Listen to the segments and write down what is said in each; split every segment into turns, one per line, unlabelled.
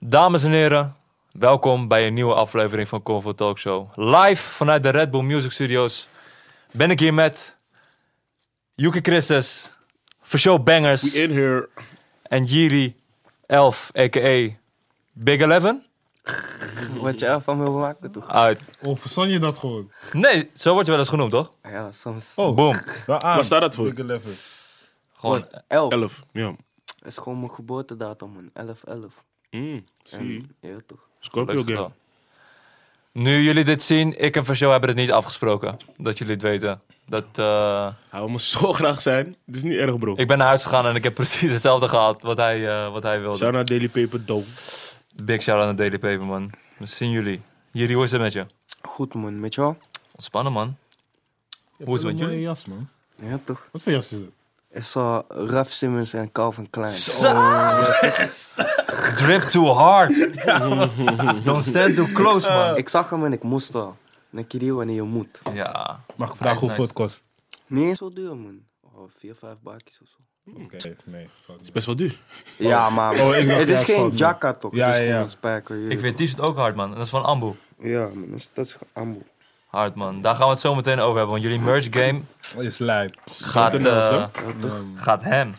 Dames en heren, welkom bij een nieuwe aflevering van Convo Talk Show. Live vanuit de Red Bull Music Studios ben ik hier met Yuki Christus, For Show
We
Bangers
in here.
en Jiri 11, a.k.a. Big Eleven.
Word je er van wil maken, toch?
Uit.
Oh, verstand je dat gewoon?
Nee, zo word je wel eens genoemd, toch?
Ja, soms.
Oh,
Boom.
daar aan.
Waar staat dat voor?
Big Eleven.
Gewoon,
Elf.
11. Ja.
is gewoon mijn geboortedatum, man. 11, 11.
Mm, zie.
En, ja, toch?
Scorpio
leuk
game.
gedaan. Nu jullie dit zien, ik en Vershow hebben het niet afgesproken. Dat jullie het weten. Dat, eh,
Hij wil me zo graag zijn. Het is niet erg, bro.
ik ben naar huis gegaan en ik heb precies hetzelfde gehad wat hij, eh, wat hij wilde.
Shout naar Daily Paper Doe.
Big shout out aan Daily Paper, man. We zien jullie. Jullie, hoe is het met je?
Goed, man. Met jou?
Ontspannen, man. Hoe is het met
Een mooie
jullie?
jas, man.
Ja, toch?
Wat voor jas is het?
Ik zag Raf Simmons en Calvin Klein.
Drip too hard. Don't stand too close, man.
Ik zag hem en ik moest al. En ik kreeg wanneer je moet.
Ja.
Mag ik vragen hoeveel het kost?
Niet eens zo duur, man. Oh, 4, 5 bakjes of zo.
Oké, nee. fuck
Is
me.
best wel duur.
Ja, maar
Oh, ik dacht,
het is
ja,
geen
fuck, man.
jacka, toch?
Ja,
het is
ja, ja.
gewoon een spijker. je
Ik vind
weet
t-shirt ook hard, man. En dat is van Ambu.
toch? Ja, man. Dat is, dat is ambo.
Hard, man. Daar gaan we het zo meteen over hebben. Want jullie merch game
Het is lijp.
gaat,
Zo'n tunnels,
eh,
Ja, toch?
Um,
gaat hem.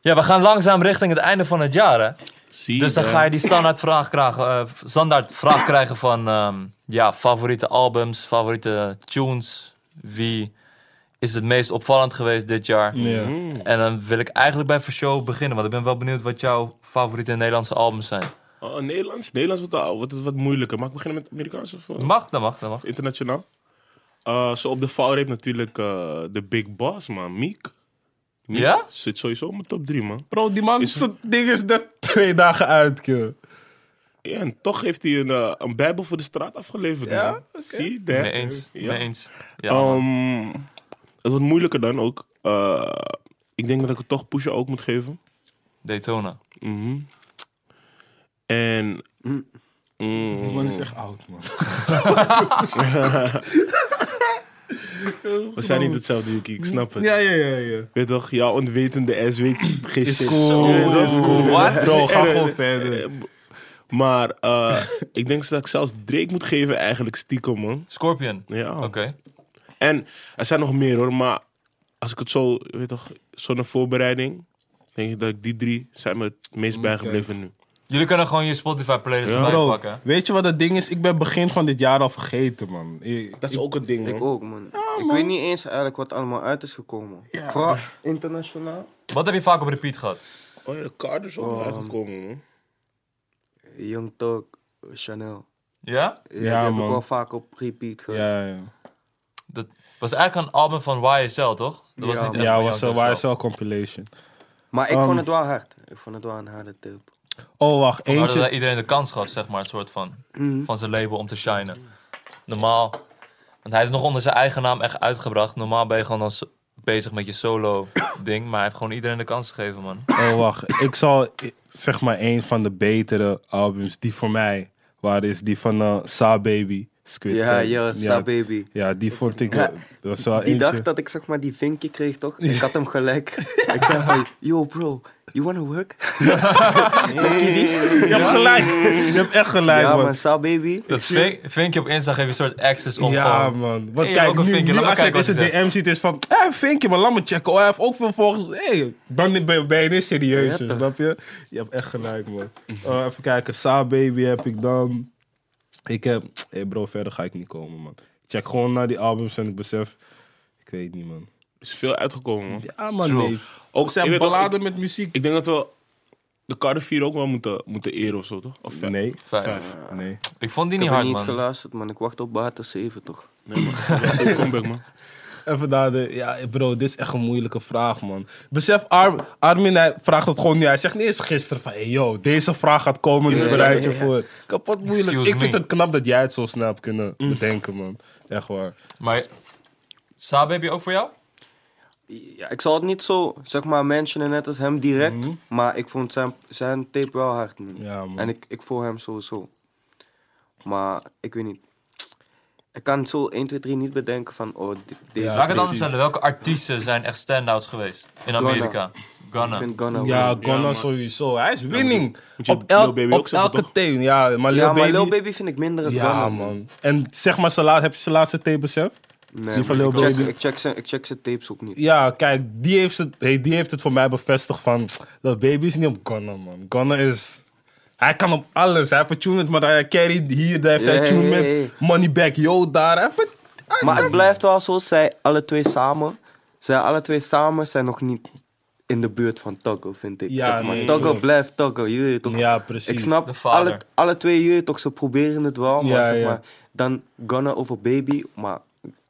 Ja, we gaan langzaam richting het einde van het jaar, hè.
Zie
Dus dan
eh,
ga je die standaard vraag krijgen, eh, standaard vraag krijgen van ehm, ja, favoriete albums, favoriete tunes. Wie is het meest opvallend geweest dit jaar?
ja.
Mm.
En dan wil ik eigenlijk bij Vershow beginnen, want ik ben wel benieuwd wat jouw favoriete Nederlandse albums zijn.
Oh, Nederlands? Nederlands wordt al- wordt het wat moeilijker. Mag ik beginnen met Amerikaans of eh,
Mag, dat mag, dat mag.
internationaal? Eh, zo op de valreep natuurlijk eh, de Big Boss, man. Meek. Meek
Ja?
Zit sowieso op mijn top 3, man.
Bro, die man,
Is-
zijn ding is net twee dagen uit, kill.
Ja, en toch heeft hij een, eh, een bijbel voor de straat afgeleverd.
Ja?
man. Zie, dat?
Mee eens,
Ja.
mee eens. Ja, man.
Ehm, het wordt moeilijker dan ook. Eh, ik denk dat ik het toch pushen ook moet geven.
Daytona.
Mhm. En.
Mm.
Mm.
Die man is echt oud, man.
We zijn niet hetzelfde, Yuki. Ik snap het.
Ja, ja, ja, ja.
Weet toch, jouw onwetende S weet geen
Is
shit.
cool.
Ja, dat is cool.
What?
Bro, ga
Eh,
gewoon
eh, eh,
verder. Maar eh, ik denk dat ik zelfs Drake moet geven, eigenlijk stiekem, man.
Scorpion.
Ja.
Oké.
En er zijn nog meer hoor, maar als ik het zo, weet toch, zo'n voorbereiding, denk ik dat ik die drie zijn me het meest bijgebleven nu.
Jullie kunnen gewoon je Spotify playlist
Ja.
erbij
Bro,
pakken.
weet je wat het ding is? Ik ben begin van dit jaar al vergeten, man. Dat
ook een ding,
Ik ook, man. Ik weet niet eens eigenlijk wat allemaal uit is gekomen. Vooral internationaal.
Wat heb je vaak op repeat gehad?
Oh ja, de kaart is ook
Oh.
uitgekomen, man.
Young Talk, Chanel.
Ja?
Ja,
Ja,
die heb
man.
ik wel vaak op repeat gehad.
Ja, ja.
Dat was eigenlijk een album van YSL, toch? Dat was
Ja,
niet echt
Ja,
van
was eh,
jou,
een
toch?
YSL compilation.
Maar ik
Um,
vond het wel hard. Ik vond het wel een harde tip.
Oh, wacht.
Maar dat
Eentje.
hij iedereen de kans gaf, zeg maar, een soort van, van zijn label om te shinen. Normaal, want hij is nog onder zijn eigen naam echt uitgebracht. Normaal ben je gewoon als bezig met je solo ding, maar hij heeft gewoon iedereen de kans gegeven, man.
Oh, wacht. Ik zal eh, zeg maar een van de betere albums die voor mij waren, is die van eh Sa Baby. Squid
Ja,
Tape.
ja, Sa Baby.
Ja, die vond ik.
Ja.
wel- Dat was wel
Die dag
eentje.
dat ik zeg maar die vinkje kreeg, toch? Ik had hem gelijk. ik zei van, yo bro, you wanna work? Denk je die?
Je hebt gelijk. Je hebt echt gelijk,
Ja, man,
man.
Sa Baby.
Dat vink, vinkje op Insta geeft je een soort access om
Ja,
gewoon...
man. Want
Hey,
kijk,
ook een
nu,
vinkje.
nu
Laat maar
als je
kijken
deze
wat hij
DM ziet, is van... Hé, vinkje, maar laat me checken. Oh, hij heeft ook veel volgers. Hey, dan ben je, ben je niet serieus,
Ja, toch.
snap je? Je hebt echt gelijk, man. Eh, even kijken. Sa Baby heb ik dan. Ik heb... hey bro, verder ga ik niet komen, man. Ik check gewoon naar die albums en ik besef... Ik weet niet, man.
Er is veel uitgekomen, man.
Ja, man,
True.
nee.
Ook
Ook zijn
ik weet wel,
balladen
ik,
met muziek.
ik denk dat we de kaart 4 ook wel moeten, moeten eren of zo, toch? Of vijf.
Nee,
Vijf.
Vijf.
nee.
Ik vond die
Ik
niet
heb
hard,
niet
man.
geluisterd, man. Ik wacht op Baten 7, toch?
Nee, man. Goeie comeback, man.
Even naar de... Ja, bro, dit is echt een moeilijke vraag, man. Besef, Ar- Armin hij vraagt het gewoon nu. Hij zegt niet eens gisteren van... Hey, yo, deze vraag gaat komen, dus
Ja,
bereid je
ja, ja, ja.
voor. Kapot moeilijk.
Excuse
ik vind
me.
het knap dat jij het zo snel hebt kunnen bedenken, man. Echt waar.
Maar Saab heb je ook voor jou?
Ja, ik zal het niet zo, zeg maar, mentionen net als hem direct. Maar ik vond zijn, zijn tape wel hard, man.
Mhm. Ja, man.
En ik, ik voel hem sowieso. Maar ik weet niet. Ik kan zo 1, 2, 3 niet bedenken van, oh, dit- deze...
Laat ik het
Ja, precies.
anders stellen. Welke artiesten zijn echt standouts geweest in Amerika?
Ik
Ghana.
vind Ghana
Ja,
wel.
Ghana
maar-
sowieso. Hij is winning.
Moet je
Op,
Lil
elk-
Baby
op
ook zeggen,
elke
toch?
teen, ja. Maar Lil
Ja, maar
Baby...
Lil Baby vind ik minder dan
ja,
Ghana.
man. En zeg maar, zijn laat- heb je zijn laatste tape beseft?
Nee,
Zie van
man,
Lil
ik, check,
Baby.
ik, check zijn, ik check zijn tapes ook niet.
Ja, kijk, die heeft het, hey, die heeft het voor mij bevestigd van... Dat Baby is niet op Ghana, man. Ghana is... Hij kan op alles. Hij vertuned, maar hij carry hier, daar heeft
Ja,
hij
ja,
attunement.
ja, ja.
Money back, yo, daar. Hij ver- hij-
Maar het blijft wel zo, zij alle twee samen. Zij alle twee samen zijn nog niet in de buurt van Tuggo, vind ik.
Ja,
zeg maar.
nee,
Tuggo
klopt.
blijft Tuggo, je weet toch?
Ja, precies.
Ik snap,
De vader.
alle, alle twee jullie toch, ze proberen het wel. Maar
Ja,
zeg
ja.
maar, dan Ghana over Baby. Maar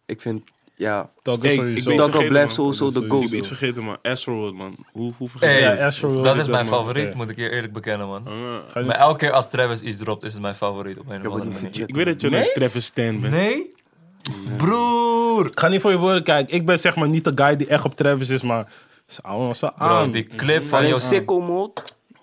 ik vind, ja,
Toggle
Hey, ik
sowieso.
ben-
Tuggo
vergeten, man.
blijft sowieso de
Sowieso.
Ik ben iets
goat.
vergeten, man. Astroworld, man. Hoe, hoe vergeet
Hey,
je
Ja, Astro World
dat is
is
mijn
dat, man.
favoriet,
Ja.
moet ik je eerlijk bekennen, man.
Ah.
Ja.
Maar elke keer als Travis iets dropt, is het mijn favoriet op een of
heb het
andere
niet
manier.
gecheckt.
Ik weet dat je een Travis Stan bent.
Nee? Broer!
Ik ga niet voor je woorden kijken. Ik ben zeg maar niet de guy die echt op Travis is, maar... Ze houden ons wel aan.
Bro, die clip van
Alleen
jou.
Sicko Mode,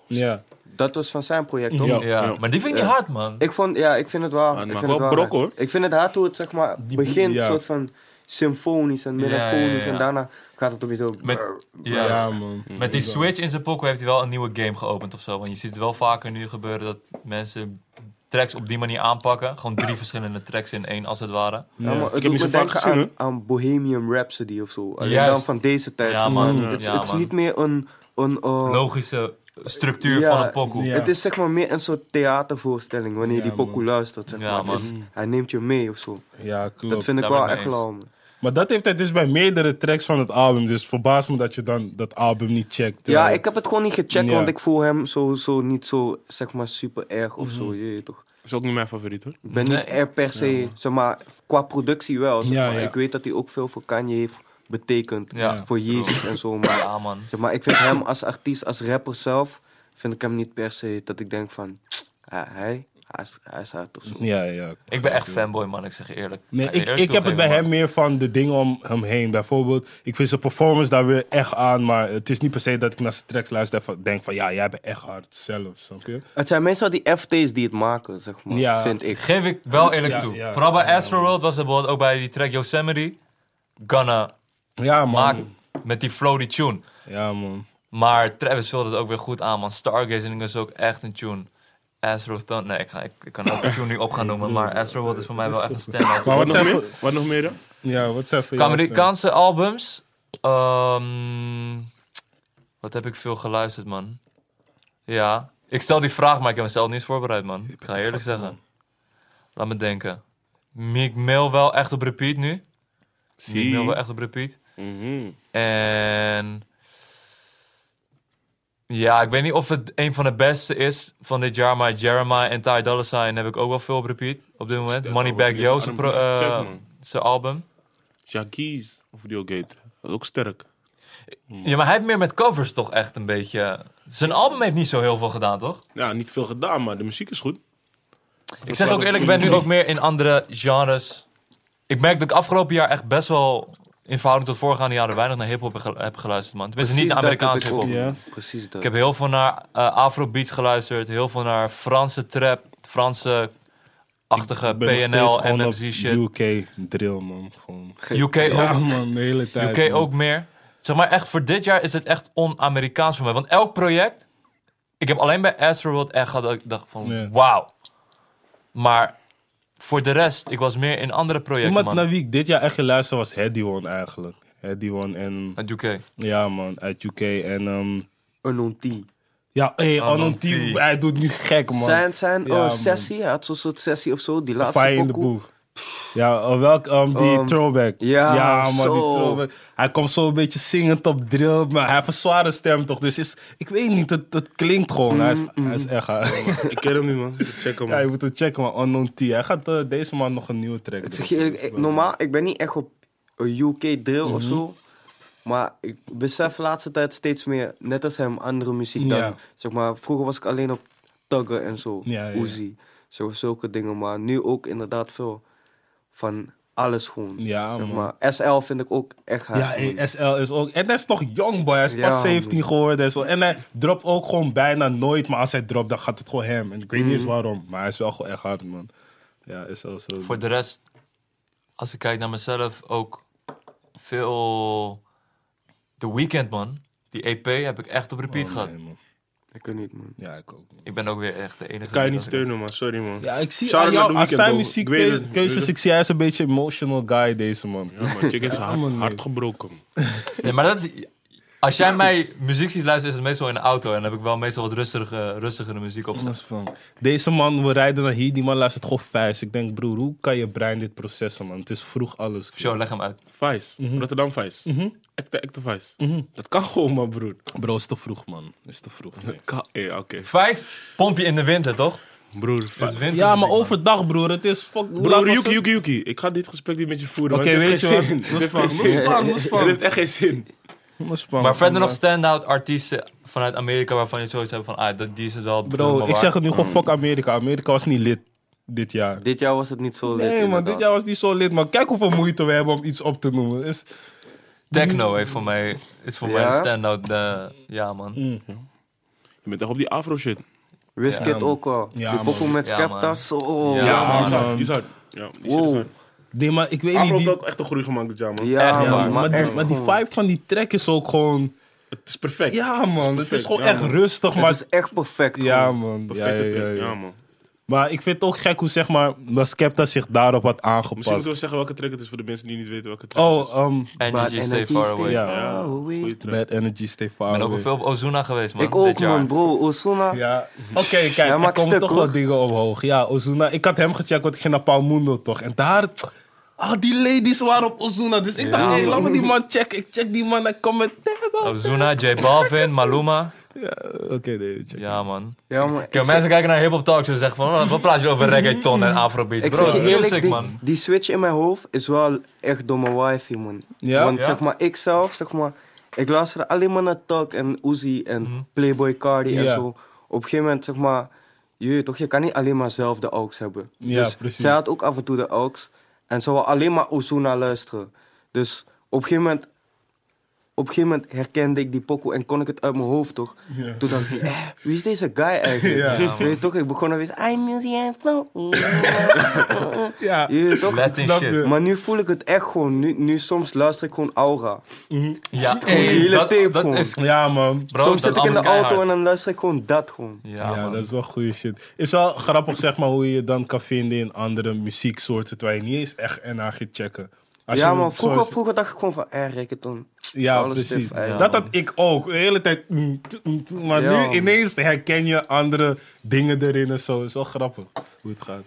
Ja.
dat was van zijn project, toch?
Ja.
Ja, maar die vind ik niet hard, man.
Ik, vond, ja, ik vind het wel.
het
ik
mag
vind het
wel
wel
brok,
hard.
hoor.
Ik vind het hard hoe het zeg maar, begint,
ja.
soort van symfonisch en melancholisch.
Ja, ja, ja.
En daarna gaat het opeens zo.
Met,
Ja,
ja,
man.
met die switch in zijn pokken heeft hij wel een nieuwe game geopend of zo. Want je ziet het wel vaker nu gebeuren dat mensen tracks op die manier aanpakken. Gewoon drie verschillende tracks in één, als het ware.
Ja, maar het
heb
doet
je
me
zo vaak
denken
gezien,
aan, aan Bohemian Rhapsody of zo. Alleen
Juist.
dan van deze tijd. Mm.
Ja, man.
Het is-
Ja,
het is
man.
niet meer een. een eh,
Logische structuur
Ja,
van een pokoe.
ja.
Het is zeg maar meer een soort theatervoorstelling wanneer je
Ja,
die pokoe
man.
luistert. Zeg
Ja,
maar. Het is- hij neemt je mee of zo.
Ja, klopt.
Dat vind ik
daar
wel
ben ik
echt
mee eens.
lauw. man.
Maar dat heeft hij dus bij meerdere tracks van het album. Dus verbaas me dat je dan dat album niet checkt.
Ja,
Terwijl-
ik heb het gewoon niet gecheckt,
Ja.
want ik voel hem sowieso niet zo, zeg maar, super erg of
Mhm.
zo. Je weet toch?
Dat is ook niet mijn favoriet, hoor.
Ik ben niet er per se, zeg maar, qua productie wel. Zeg
Ja,
maar.
ja.
Ik weet dat hij ook veel voor Kanye heeft betekend.
Ja.
Voor Jezus en zo. Maar,
Ja, man.
zeg maar ik vind hem als artiest, als rapper zelf, vind ik hem niet per se dat ik denk van, ah, hij, hij is, hij is hard of zo.
Ja, ja.
Ik ben echt fanboy, man. Ik zeg je eerlijk.
Nee,
Ga je
ik,
eerlijk
ik heb het bij
toegeven,
hem
man.
meer van de dingen om hem heen. Bijvoorbeeld, ik vind zijn performance daar weer echt aan. Maar het is niet per se dat ik naar zijn tracks luister en van- denk van... Ja, jij bent echt hard zelf, snap je?
Het zijn meestal die FT's die het maken, zeg maar,
Ja.
vind ik.
Geef ik wel eerlijk
Ja,
toe.
ja.
Vooral bij Astroworld was het bijvoorbeeld ook bij die track Yosemite. Ghana
Ja, man.
maken met die flow, die tune.
Ja, man.
Maar Travis vulde het ook weer goed aan, man. Stargazing is ook echt een tune. Astro Thun- Nee, ik, ga, ik, ik kan ook een tune nu op gaan noemen. Maar Astro World is voor mij wel echt een standaard.
Maar
Wat
wat
nog
zijn
meer?
voor...
Wat nog meer, dan?
Ja, wat zijn voor jou-
Amerikaanse albums. ehm, wat heb ik veel geluisterd, man? Ja. Ik stel die vraag, maar ik heb mezelf niet eens voorbereid, man. Ik ga eerlijk zeggen. Laat me denken. Meek Mill wel echt op repeat nu. Meek Mill wel echt op repeat.
Mhm.
En ja, ik weet niet of het een van de beste is van dit jaar, maar Jeremiah en Ty Dolla Sign heb ik ook wel veel op repeat op dit moment.
dat
Moneybag
album
Yo,
is
zijn,
arm,
pro-
moet je
eh,
checken, man.
zijn album.
Jacques, of die ook heet. Dat is ook sterk.
Ja, maar hij heeft meer met covers toch echt een beetje... Zijn album heeft niet zo heel veel gedaan, toch?
Ja, niet veel gedaan, maar de muziek is goed.
Ik zeg ook eerlijk, ik ben nu ook meer in andere genres. Ik merk dat ik afgelopen jaar echt best wel... In verhouding tot voorgaande jaren weinig naar hip-hop heb gelu- heb geluisterd, man. Tenminste, niet
Precies
naar Amerikaanse
dat heb ik
hip-hop.
Ja.
ook. Precies dat.
Ik heb heel veel naar eh afrobeats geluisterd, heel veel naar Franse trap, Franse achtige
Ik eh, ben nog steeds
PNL,
gewoon op
MMZ shit.
UK drill, man. Gewoon.
UK,
Ja,
ook,
man. De hele tijd.
UK
man.
ook meer. Zeg maar echt, voor dit jaar is het echt on-Amerikaans voor mij. Want elk project, ik heb alleen bij Astroworld echt gehad dat ik dacht van,
Ja.
wauw. Maar voor de rest, ik was meer in andere projecten,
Iemand
man.
naar wie ik dit jaar echt geluisterd was Heddy One eigenlijk. Heddy One en...
Uit UK.
Ja, man. Uit UK en... ehm,
Unknown T.
Ja, hey,
Anon
Anon
T.
T, hij doet nu gek, man.
Zijn, zijn
Ja,
oh,
man.
sessie, hij had zo'n soort sessie of zo, die laatste
Fire in the
pokoe.
boeg. Ja, oh, welk, um, die
Um,
throwback.
ja,
man, die
zo.
throwback. Hij komt zo een beetje zingend op drill, maar hij heeft een zware stem toch. Dus is, ik weet niet, het, het klinkt gewoon. hij,
Mm,
is, hij is echt... eh,
Ik ken hem niet, man. Ik check hem.
ja, je
man.
moet het checken, man. Unknown T. Hij gaat eh, deze maand nog een nieuwe track
Ik
doen.
zeg je eerlijk, ik- normaal, ik ben niet echt op een UK drill of
Mhm.
zo. Maar ik besef de laatste tijd steeds meer, net als hem, andere muziek dan.
Ja.
Zeg maar, vroeger was ik alleen op Tugger en zo,
Ja, ja, ja.
Uzi, zo, zulke dingen. Maar nu ook inderdaad veel van alles gewoon.
Ja,
zeg
man.
maar. SL vind ik ook echt hard.
Ja, eh,
man.
hey, SL is ook... En hij is nog jong, boy. Hij is
Ja,
pas
man.
17 geworden. En, zo. en hij dropt ook gewoon bijna nooit. Maar als hij dropt, dan gaat het gewoon hem. En ik weet niet
Mm.
eens waarom. Maar hij is wel gewoon echt hard, man. Ja, SL is zo...
Voor de rest, als ik kijk naar mezelf, ook veel The Weeknd, man. Die Die EP heb ik echt op repeat gehad.
Oh, Nee, man.
Ik kan niet, man.
Ja, ik ook. man.
Ik ben ook weer echt de enige.
Kan je
die
niet
dat-
steunen, man. Sorry, man.
Ja, ik zie
Shout
aan
out
jou,
naar
aan
The
zijn
Weeknd,
muziek,
bro. Ik weet het, ik weet
keuzes.
het.
Ik zie hij is een beetje emotional guy, deze man.
Ja, man. Chick heeft haar
man, nee.
hart gebroken.
Nee, maar dat is. Als jij mij muziek ziet luisteren, is het meestal in de auto. En dan heb ik wel meestal wat rustige, rustigere muziek op. staan.
Dat is van, Deze man, we rijden naar hier, die man luistert gewoon vijs. Ik denk, broer, hoe kan je brein dit processen, man? Het is vroeg alles. Mhm,
Show, leg hem uit.
Vice. Rotterdam Vice. Ekte, ekte Vice. Dat kan gewoon, man, broer.
Bro, is te vroeg, man. Is te vroeg. nee.
Ka- eh, oké.
Vijs, pomp je in de winter, toch?
Broer,
Het is
Vice.
winter.
Ja, maar overdag, broer. Het is fuck. hoe laat
Broer,
was
Yuki,
het?
Yuki, Yuki. Ik ga dit gesprek niet met je voeren.
Oké,
want het
weet
heeft
je
geen
wat?
zin.
Dat is
Het
van.
heeft geen zin. Het heeft echt geen zin.
Maar verder nog stand-out artiesten vanuit Amerika waarvan je zoiets hebt van, ah, dat, die is het wel.
Bro, ik zeg het nu gewoon, fuck Amerika. Amerika was niet lid dit jaar.
Dit jaar was het niet zo. lit,
Nee, man,
inderdaad.
dit jaar was niet zo lid, man. Kijk hoeveel moeite we hebben om iets op te noemen. Is,
Techno heeft voor mij, is voor mij
Ja?
een stand-out. eh, ja, man.
Je bent echt op die afro shit.
Wizkid
Ja, man.
ook al.
Ja,
die pokoe
man.
met
Ja,
Skepta,
man.
zo.
Ja,
Ja, man.
Ah,
Die is
man.
hard, die is hard. Ja, die shit is
Wow.
hard.
Nee, maar ik weet
Afro
niet.
heeft
Die,
ook echt een groei gemaakt dit jaar, man.
Ja,
Echt waar,
ja, maar,
man.
die,
echt
maar die
gewoon.
vibe van die track is ook gewoon.
Het is perfect.
Ja, man. Het is gewoon
ja,
echt
man.
rustig,
Het
maar.
is echt perfect.
Ja,
gewoon.
man. Ja,
Perfecte
ja, ja,
track.
ja.
Ja, man.
Maar ik vind het ook gek hoe, zeg maar, dat Skepta zich daarop had
Misschien moeten
aangepast.
we zeggen welke track het is voor de mensen die niet weten welke track het is.
Oh, um,
En
But
you stay
energy
far away.
Ja.
Ja,
away.
goeie track.
Bad Energy, Stay Far
Ik ben ook
Away.
wel veel op Ozuna geweest, man.
Ik ook,
dit jaar.
man, bro. Osuna.
Ja, oké, kijk,
Jij
er
maakt
komen
stuk,
toch wel
hoor.
dingen omhoog. Ja, Ozuna, ik had hem gecheckt, want ik ging naar Palmundo toch. En daar, al die ladies waren op Ozuna. Dus ik dacht, hé, laat me die man checken. Ik check die man en kom met...
Ozuna, J Balvin, Maluma.
Ja, oké, nee, check.
Ja, man.
Ja, man. Ik,
Kijk,
zeg-
mensen kijken naar hip-hop talks en zeggen van, oh, wat praat je over reggaeton en afrobeats?
ik
Bro,
zeg je
music,
eerlijk, die,
man.
die switch in mijn hoofd is wel echt door mijn wife, man.
Ja?
Want
Ja?
zeg maar, ik zelf, zeg maar, ik luister alleen maar naar Talk en Uzi en Playboy Cardi
Mhm. Ja.
en zo. Op een gegeven moment, zeg maar, je weet toch, je kan niet alleen maar zelf de aux hebben.
Ja,
dus
precies.
zij had ook af en toe de aux en ze wou alleen maar Ozuna luisteren. Dus op een gegeven moment, op een gegeven moment herkende ik die pokoe en kon ik het uit mijn hoofd, toch? Toen dacht ik, eh, wie is deze guy eigenlijk?
Ja.
Ja,
Je weet toch, ik begon alweer, I'm music and flow.
Ja,
Je weet toch?
Latin
snap
shit.
je.
Maar nu voel ik het echt gewoon. Nu, nu soms luister ik gewoon aura.
Ja,
Gewoon die
ey,
hele
dat,
tape
dat
gewoon.
is...
ja man.
Bro,
soms
dat
zit ik in de
album is
auto en
keihard.
dan luister ik gewoon dat gewoon.
Ja,
Ja,
man.
dat is wel goede shit. Is wel grappig, zeg maar, hoe je dan kan vinden in andere muzieksoorten, terwijl je niet eens echt NA gaat checken. Als
ja,
je
man. Vroeger,
zo-
vroeger dacht ik gewoon van, eh, reggaeton.
Ja,
Alles
precies.
stif, eigenlijk.
dat had ik ook. De hele tijd. mm, t- mm, t- Maar
Ja, man.
nu ineens herken je andere dingen erin en zo. Is wel grappig hoe het gaat.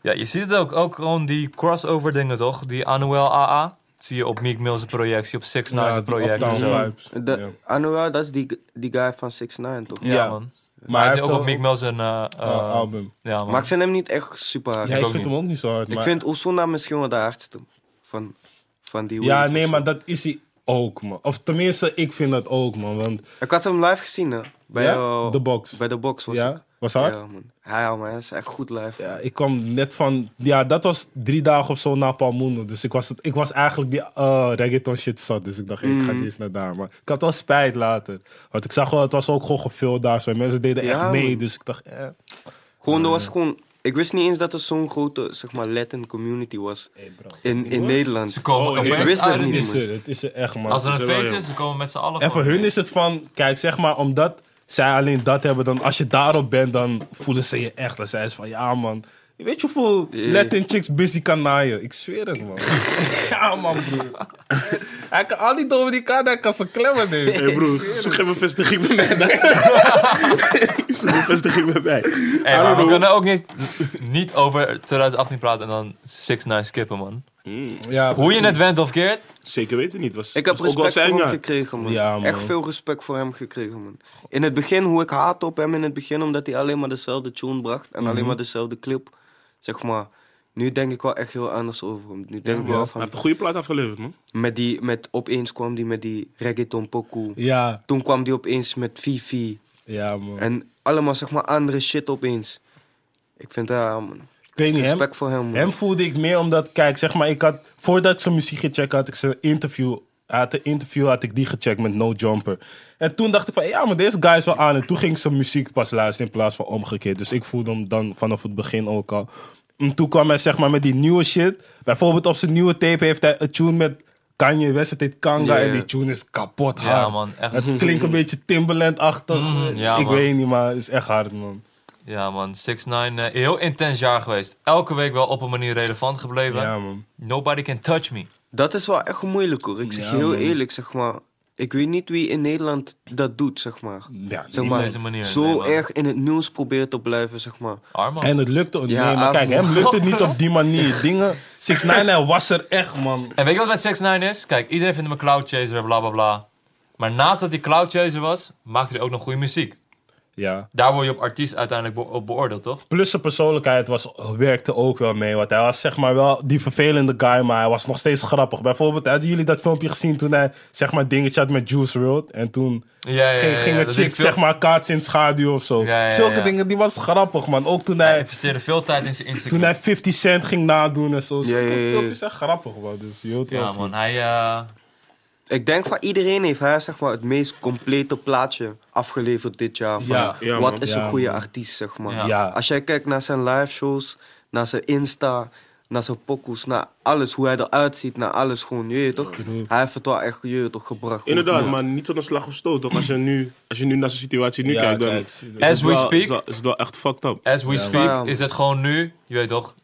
Ja, je ziet het ook, ook gewoon die crossover dingen, toch? Die Anuel AA. Zie je op Meek Mill's project, zie je op Six Nine's
die
nou project en
uptown
zo. Ja,
vibes.
De,
Ja.
Anouar, dat is die, die guy van 6 9 toch?
Ja,
man.
Maar hij
hij
heeft
heeft ook op
ook-
Meek Mill's een... eh, eh,
Uh, album.
Ja, man.
Maar ik vind hem niet echt super hard.
Ja, ik
ook
vind hem ook niet zo hard.
ik
maar-
vind Osuna misschien wel de hardste van, van die
ja,
wave.
nee, maar dat is hij ook, man. Of tenminste, ik vind dat ook, man. Want
Ik had hem live gezien, hè. Bij
Ja?
eh,
The Box.
Bij de box was ik.
ja, was hard. Ja.
Ja, man. Ja, man. Hij is echt goed live.
ik kwam net van. Ja, dat was drie dagen of zo na Palmundo. Dus ik was, ik was eigenlijk die eh, reggaeton shit zat. Dus ik dacht, hey, ik
Mm.
ga niet eens naar daar. Maar ik had wel spijt later. Want ik zag wel, het was ook gewoon gevuld daar. Zo. En Mensen deden echt
Ja,
mee.
man.
Dus ik dacht, eh.
Gewoon, er was gewoon... Ik wist niet eens dat er zo'n grote, zeg maar, Latin community was
Hey bro.
in, in Nederland.
Ze komen
Oh, ik
opeens
wist het
uit
Het
het
niet.
is er, het is er echt, man.
niets. Als er
Ze
een
wel,
feest
joh.
is, ze komen met z'n allen
En voor
gewoon.
hun is het van, kijk zeg maar, omdat zij alleen dat hebben, dan als je daarop bent, dan voelen ze je echt. Dan zijn ze van, ja man, je weet je hoeveel
Ja.
Latin chicks busy kan naaien? Ik zweer het man. ja man broer. Hij kan al die Dominicanen, hij kan ze klemmen nemen.
Hé broer, zoek geen bevestiging bij mij. Zoek bevestiging bij mij.
Hey,
I
maar we
don't know.
kunnen ook niet, niet over 2018 praten en dan Six Nine skippen, man.
Mm,
Ja,
Hoe je het went of keert,
Zeker weten niet. Was,
Ik heb
was ook wel
respect
zijn
voor hem
jaar.
gekregen, man.
Ja, man.
Echt veel respect voor hem gekregen, man. In het begin, hoe ik haatte op hem in het begin, omdat hij alleen maar dezelfde tune bracht en
Mhm.
alleen maar dezelfde clip. Zeg maar, nu denk ik wel echt heel anders over hem. Nu denk ik wel
Hij
van,
heeft een goede plaat afgeleverd, man.
met die, met, opeens kwam hij met die reggaeton pokoe.
ja,
Toen kwam hij opeens met Fifi.
ja man.
En allemaal, zeg maar, andere shit opeens. Ik vind, ja, man.
Ik weet niet, hem,
Respect voor hem, man.
hem voelde ik meer omdat, kijk zeg maar, ik had, voordat ik zijn muziek gecheckt had, ik zijn interview... Had een interview had ik die gecheckt met No Jumper. En toen dacht ik van, ja, maar deze guy is wel aan. En toen ging ik zijn muziek pas luisteren in plaats van omgekeerd. Dus ik voelde hem dan vanaf het begin ook al. En toen kwam hij zeg maar met die nieuwe shit. Bijvoorbeeld op zijn nieuwe tape heeft hij een tune met Kanye West, het heet Kanga
Ja, ja.
en die tune is kapot hard.
Ja, man. Echt. Mm,
Het klinkt een beetje Timbaland-achtig.
ja,
ik
man.
weet niet, maar het is echt hard, man.
Ja, man. 6 9 heel intens jaar geweest. Elke week wel op een manier relevant gebleven.
Ja, man.
Nobody can touch me.
Dat is wel echt moeilijk hoor. Ik zeg
Ja,
je heel
man.
eerlijk, zeg maar. Ik weet niet wie in Nederland dat doet, zeg maar.
Ja,
Zeg
op
maar,
deze manier,
zo
nee, man.
erg in het nieuws probeert te blijven, zeg maar.
Arman. En,
En het lukte ook.
Ja, ah,
nee, maar kijk,
Avo.
hem lukt het niet op die manier. Dingen. 6 9 was er echt, man.
weet je wat met 6 9 is? Kijk, iedereen vindt hem een cloud chaser, bla bla bla. Maar naast dat hij cloud chaser was, maakte hij ook nog goede muziek.
Ja.
Daar word je op artiest uiteindelijk be- op beoordeeld, toch?
Plus zijn persoonlijkheid was, werkte ook wel mee. Want hij was zeg maar wel die vervelende guy, maar hij was nog steeds grappig. Bijvoorbeeld, hadden jullie dat filmpje gezien toen hij zeg maar dingetje had met Juice WRLD? En toen
Ja, ja, ja.
ging,
ja,
ging
dat
het
is
chick
veel-
zeg maar kaats in schaduw of zo.
Ja, ja, ja,
Zulke
ja.
dingen, die was grappig man. Ook toen hij,
Hij investeerde veel tijd in zijn Instagram.
toen hij 50 Cent ging nadoen en zo.
Ja, ja, ja, ja.
filmpjes zijn grappig man. Dus je wilt wel
Ja,
zien.
man. Hij, eh,
Ik denk van iedereen heeft hij zeg maar, het meest complete plaatje afgeleverd dit jaar. Van
Ja,
ja,
wat
man.
is
Ja,
een goede
man.
artiest, zeg maar.
Ja.
Ja.
Als jij kijkt naar zijn live shows, naar zijn Insta, naar zijn pokoes, naar alles, hoe hij eruit ziet, naar alles gewoon, je weet toch?
True.
Hij heeft het wel echt, je weet toch, gebracht.
Inderdaad,
Ja.
maar niet van een slag of stoot. Toch? Als, je nu, als je nu naar zijn situatie nu
Ja,
kijkt, dan
kijk,
is
as
het
we
wel-
speak,
Is, dat, is het wel echt fucked up.
as we
man.
speak,
Ja, man.
is het gewoon nu. Je weet toch,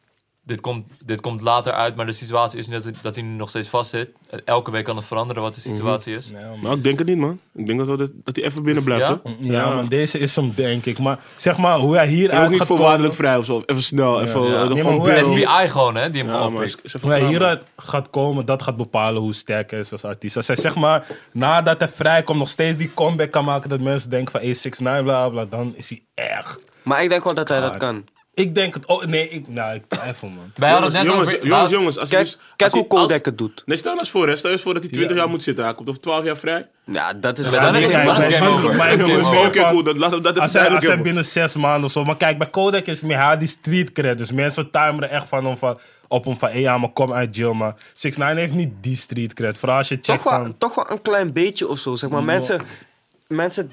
dit komt, dit komt later uit, maar de situatie is nu dat, hij- dat hij nu nog steeds vast zit. Elke week kan het veranderen wat de
Mhm.
situatie is.
Nee, man.
Nou, ik denk het niet, man. Ik denk dat, wel dat, dat hij even binnen blijft,
Ja?
hoor.
Ja, man, deze is hem, denk ik. Maar zeg maar, hoe hij hier
En ook
uit
niet
gaat komen...
voorwaardelijk vrij of zo. Of Even snel, even...
Ja.
eh,
Nee,
nog
maar
gewoon
hoe hij-
bill.
FBI gewoon, hè, die hem
Ja,
gewoon
maar
oppikt.
is- is even
Hoe hij
klaar, man.
hieruit gaat komen, dat gaat bepalen hoe sterk hij is als artiest. Als hij zeg maar, nadat hij vrijkomt, nog steeds die comeback kan maken... dat mensen denken van, hey, 6 9 bla, bla, dan is hij echt...
Maar ik denk wel dat hij dat
God.
kan.
Ik denk het... Oh, nee, ik, nou, ik twijfel, man.
Wij hadden
Jongens,
het net
jongens,
over... Nou,
jongens, jongens, als hij
Kijk,
dus-
kijk
als
hoe
hij- als-
Kodak het doet.
Nee, stel nou eens voor, hè. Stel eens voor dat hij 20 jaar moet zitten. Hij komt over 12 jaar vrij.
Ja, dat is
Ja, dan is
nee,
het
nee,
dan is
nee,
game
nee,
over.
nee,
Dat is
nee,
game
nee,
over.
nee,
Oké, goed. Dat, laat, dat even
Als hij,
duidelijk
als hij
hebben.
binnen zes maanden of zo... Maar kijk, bij Kodak is het meer haar die street cred. Dus mensen timeren echt van hem van, op hem van... Hey, ja, maar kom uit jail, maar 6 9 heeft niet die street cred. Vooral als je checkt
toch wel,
van...
toch wel een klein beetje of zo. Zeg maar. mensen, mensen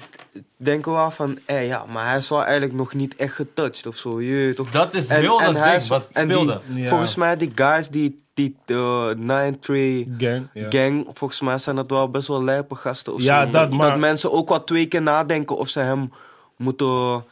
denken wel van, eh, ja, maar hij is wel eigenlijk nog niet echt getouched of zo. Je, weet toch?
Dat is heel dat
hij
ding
is-
wat
en die-
speelde.
Ja.
Volgens mij die guys die, die eh, Nine Tree
Gang, ja.
Gang, volgens mij zijn dat wel best wel lijpe gasten of
Ja,
zo.
dat, maar-
mensen ook wel twee keer nadenken of ze hem moeten,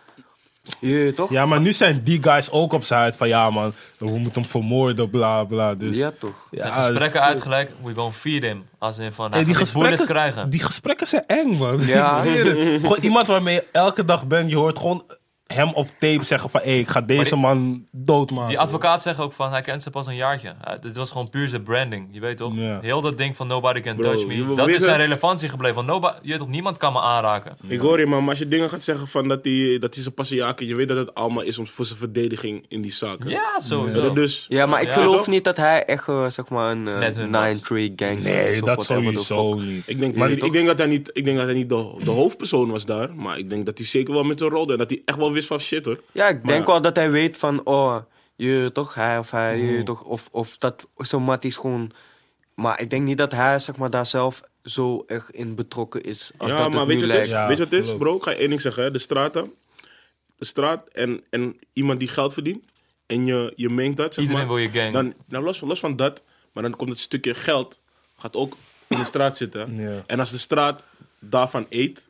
je, weet toch?
Ja, maar nu zijn die guys ook op zijn uit van ja man, we moeten hem vermoorden, bla bla. Dus,
Ja, toch?
Zijn
dus-
gesprekken uitgelijk, we gonna feed him. Als in van,
Hey,
hij
die,
gaat dit boeles
gesprekken,
krijgen.
die gesprekken zijn eng man.
Ja.
Ik zweer het. Gewoon iemand waarmee je elke dag bent, je hoort gewoon hem op tape zeggen van hé, ik ga deze man doodmaken.
Die advocaat zegt ook van, hij kent ze pas een jaartje. Eh, dit was gewoon puur zijn branding, je weet toch?
Ja.
Heel dat ding van nobody can
Bro,
touch
je
me.
wil
Dat is
weten-
zijn relevantie gebleven. Van, nobody, je weet toch, niemand kan me aanraken.
Ik hoor je, man. Maar als je dingen gaat zeggen van dat hij dat hij zijn passie jaken... Je weet dat het allemaal is om voor zijn verdediging in die zaak. hè.
Ja,
Dat
sowieso.
het dus...
Ja, maar ik
Ja,
geloof
toch?
niet dat hij echt, eh, zeg maar, een eh,
Net hun was.
Nine Tree Gang
nee, dat sowieso niet.
Ik denk,
Maar-
ik, ik denk dat hij niet, ik denk dat hij niet de, de hoofdpersoon was daar. Maar ik denk dat hij zeker wel met zijn rol deed. En dat hij echt wel wist van shit, hoor.
Ja, ik denk
Maar-
wel dat hij weet van, oh, je toch, hij of hij,
Hmm.
je toch, of, of dat zo'n mat is gewoon. Maar ik denk niet dat hij, zeg maar, daar zelf zo erg in betrokken is. Als
ja,
dat
maar
het
weet je, wat
nu
het
lijkt.
is?
Ja,
weet je wat het is,
klopt.
bro? Ik ga je één ding zeggen. hè. De straten. De straat en, en iemand die geld verdient. En je, je mengt dat, zeg
Iedereen
maar.
wil je gang.
Dan, nou, los, van- los van dat. Maar dan komt het stukje geld. Gaat ook in de straat zitten. hè.
Ja.
En als de straat daarvan eet.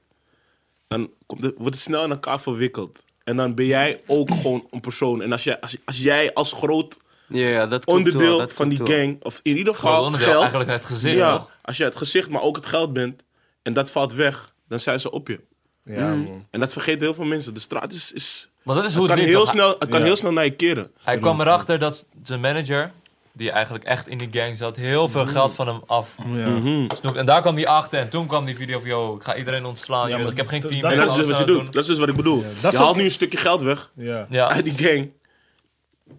Dan komt het, wordt het snel in elkaar verwikkeld. En dan ben jij ook gewoon een persoon. En als jij als, als, jij als groot
Ja, ja, dat klopt wel,
onderdeel
dat
van die
klopt wel.
gang. Of in ieder
Gewoon
geval
onderdeel,
geld.
eigenlijk het gezicht,
ja,
toch?
als je het gezicht, maar ook het geld bent. En dat valt weg, dan zijn ze op je.
Ja,
Mm.
man.
En dat vergeten heel veel mensen. De straat is. is
Want dat is
het
hoe
kan,
het liep,
heel
toch?
snel, het kan
Ja.
heel snel naar je keren.
Hij kwam erachter dat zijn manager, die eigenlijk echt in die gang zat, heel veel geld van hem af
Ja.
Mhm.
snoept. En daar kwam hij achter en toen kwam die video van, yo, ik ga iedereen ontslaan. je
Ja,
weet,
maar
ik heb geen
dat-
team.
dat
En
ik
is
ga
dat is dus
alles
wat je
zelf
doet. Dat is dus wat ik bedoel.
dat
je
is
haalt
ook-
nu een stukje geld weg
Ja.
Ja,
uit die gang.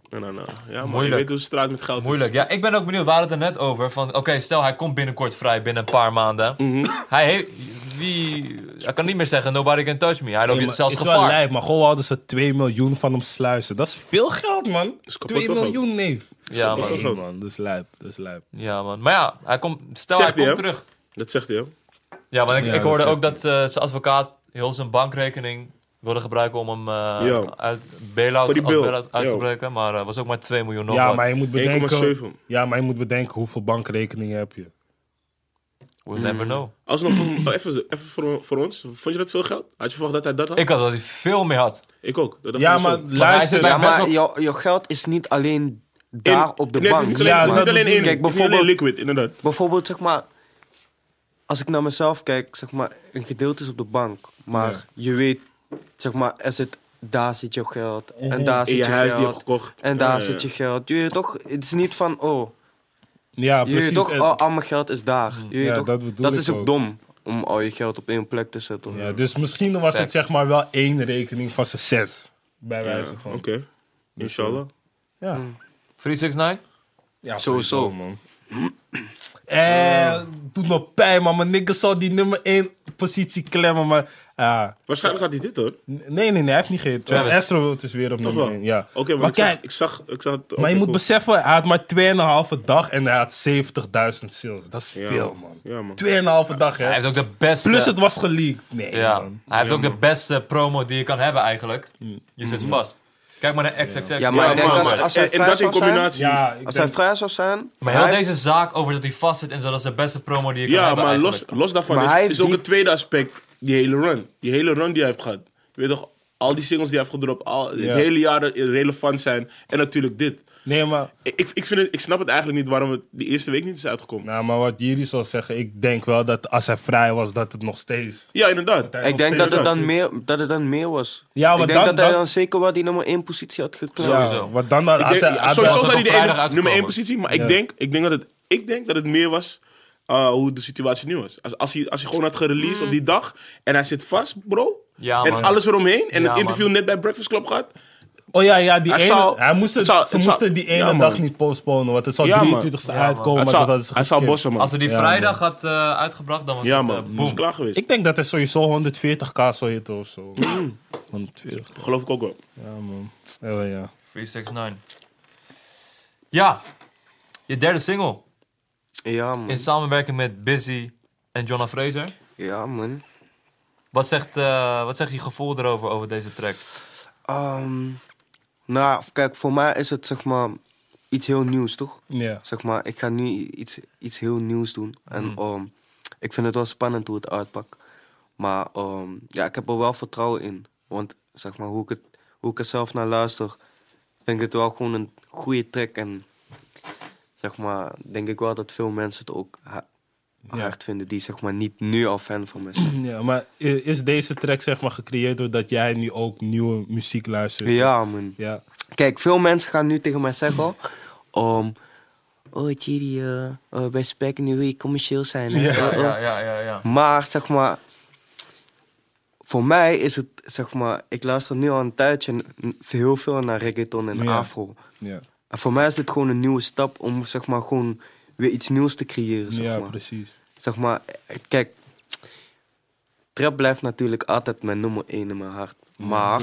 Nou, nou, nou. Ja, maar je
Moeilijk.
weet hoe de straat met geld
moeilijk. Ja, ik ben ook benieuwd, we hadden het er net over. Van, oké, stel hij komt binnenkort vrij, binnen een paar maanden.
Mhm.
Hij heeft, wie, hij kan niet meer zeggen, nobody can touch me. Hij loopt
Nee,
in
maar
zelfs
is wel
gevaar.
lijp, maar gewoon hadden ze 2 miljoen van hem sluizen. Dat is veel geld, man.
is kapot
2
wel groot.
miljoen, neef.
Ja,
man.
Nee, man, dat is lijp, dat is lijp.
Ja, man. Maar ja, hij komt, stel
Zegt
hij
hij,
komt
hè?
terug.
is. Dat zegt hij, hè?
Ja, want ik,
Ja,
ik hoorde
dat
ook dat eh, zijn advocaat heel zijn bankrekening wilde gebruiken om hem eh,
Ja.
uit bail-out,
Voor die
als
bill.
bail-out uit te
Ja.
breken. Maar eh, was ook maar 2 miljoen nog
Ja
wat.
maar, je moet bedenken,
1,7.
ja, maar je moet bedenken hoeveel bankrekeningen heb je.
We'll never know.
Alsnog, voor- even, even voor, voor ons. Vond je dat veel geld? Had je verwacht dat hij dat had?
Ik had dat hij veel meer had.
Ik ook. Dat dacht
Ja,
ik zo.
maar
hij zit
luister.
bij-
Ja,
Ja,
best
maar
wel-
jouw jouw geld is niet alleen daar
In-
op de
nee,
bank.
Het is niet alleen,
Ja,
het is
dat
niet alleen in.
bedoel ik.
Kijk,
Kijk, bijvoorbeeld liquid,
bijvoorbeeld-
inderdaad.
Bijvoorbeeld, zeg maar, als ik naar mezelf kijk, zeg maar, een gedeelte is op de bank. Maar je weet, zeg maar, er zit, daar zit jouw geld. En
Mhm.
daar
In je
zit je,
huis die je hebt
geld.
gekocht.
En daar
Ja,
zit
ja.
je geld. Je weet toch, het is niet van, oh, je weet
precies.
toch,
En-
oh, al mijn geld is daar. Je weet
Ja,
toch,
dat bedoel ik
is ook,
ook.
dom, om al je geld op één plek te zetten.
ja, dus misschien was het
Facts.
zeg maar wel één rekening van zijn zes. Bij wijze
Ja,
van.
Oké.
eh,
Inshallah.
Ja.
369?
Ja,
Sowieso.
sowieso, man. Eh, doet me pijn, man. Mijn nigga zou die nummer 1 positie klemmen, maar... ah,
Waarschijnlijk had hij dit hoor.
n- nee, nee, nee, hij heeft niet gehit.
Travis.
Astro World is weer op
Toch
nummer
wel?
1, ja.
Oké, maar,
maar
ik zag-
kijk,
ik zag... Ik zag het-
maar je
oké,
moet
cool.
beseffen, hij had maar 2,5 dag en hij had 70.000 sales. Dat is
Ja,
veel, man.
Ja, man.
2,5 dag, hè.
Hij heeft ook de beste...
Plus het was geleakt. Nee,
ja,
man.
hij heeft ook de beste promo die je kan hebben eigenlijk.
Mm.
Je zit vast. Kijk maar naar XXX.
Ja, maar
Ja,
ik denk
man,
als-
maar-
als hij
en- en
vrij
dat in
zou zijn-
combinatie.
Ja, ik
Als hij
ben-
vrij zou zijn...
Maar
hij
heel
heeft-
deze zaak over dat hij vast zit en zo, dat is de beste promo die je kan
Ja,
hebben
maar los,
eigenlijk.
los daarvan
Maar
is,
hij heeft
is ook
die-
het tweede aspect. Die hele run. Die hele run die hij heeft gehad. Je weet toch, al die singles die hij heeft gedropt. Al,
Ja.
Het hele jaar relevant zijn. En natuurlijk dit.
nee, maar...
Ik, ik, ik vind het, ik snap het eigenlijk niet waarom het die eerste week niet is uitgekomen.
Nou, maar wat jullie zou zeggen, ik denk wel dat als hij vrij was, dat het nog steeds...
Ja, inderdaad.
hij
Ik denk
nog
dat
steeds
het, dan
uitvindt.
meer, dat het dan meer was.
Ja, maar
ik denk
dan-
dat hij
dan-
dan zeker wel die nummer één positie had geklopt.
Sowieso.
Ja, want dan had,
Ik denk-
hij- had hij-
sowieso
was
zou
ook
hij
op
de
vrijdag
ene- nummer 1
uitgekomen.
positie, maar ik,
Ja.
denk, ik, denk dat het, ik denk dat het meer was eh, hoe de situatie nu was. Als, als, hij, als hij gewoon had gereleased op die dag en hij zit vast, bro.
Ja,
en
man.
alles eromheen en
Ja,
het interview
man.
net bij Breakfast Club gehad.
Oh ja, ja die
Het
ene,
zou-
hij moest het-
het zou-
ze
het
moesten
zou-
die
ja,
ene
man.
dag niet postponen, want het zou
Ja, man.
23 e
Ja, man.
uitkomen.
het
maar
zou,
dat hadden ze
hij zou
geskipt.
bossen, man.
Als hij die
Ja, man.
vrijdag had eh, uitgebracht, dan was
ja,
het
man.
eh,
Het is
boom.
klaar geweest.
Ik denk dat hij sowieso 140k zou hitten of zo.
Mm.
120,
Geloof ik ook wel.
ja man. Ja, wel, Oh ja.
369. Ja, je derde single.
Ja,
In
man.
samenwerking met Busy en Jonna Fraser.
Ja, man.
Wat zegt, eh, wat zegt je gevoel erover, over deze track?
Ehm, nou, kijk, voor mij is het zeg maar iets heel nieuws, toch?
Ja.
Zeg maar, ik ga nu iets, iets heel nieuws doen. En
Mhm.
ehm, ik vind het wel spannend hoe het uitpakt. Maar ehm, ja, ik heb er wel vertrouwen in. Want zeg maar, hoe ik, het, hoe ik er zelf naar luister, vind ik het wel gewoon een goede track. En zeg maar, denk ik wel dat veel mensen het ook ha-
Ja.
hard vinden die zeg maar niet nu al fan van me zijn.
ja, maar i- is deze track zeg maar gecreëerd doordat jij nu ook nieuwe muziek luistert?
Ja, man.
Ja.
Kijk, veel mensen gaan nu tegen mij zeggen... om oh, Chiri, eh eh, bij Spek nu wil je commercieel zijn. hè?
Ja,
Eh, eh.
Ja, ja, ja, ja.
Maar, zeg maar... Voor mij is het, zeg maar... Ik luister nu al een tijdje n- heel veel naar reggaeton en
Ja.
afro.
Ja,
En voor mij is dit gewoon een nieuwe stap om, zeg maar, gewoon weer iets nieuws te creëren, zeg
ja
maar.
precies.
Zeg maar, eh, kijk... Trap blijft natuurlijk altijd mijn nummer één in mijn hart. Maar...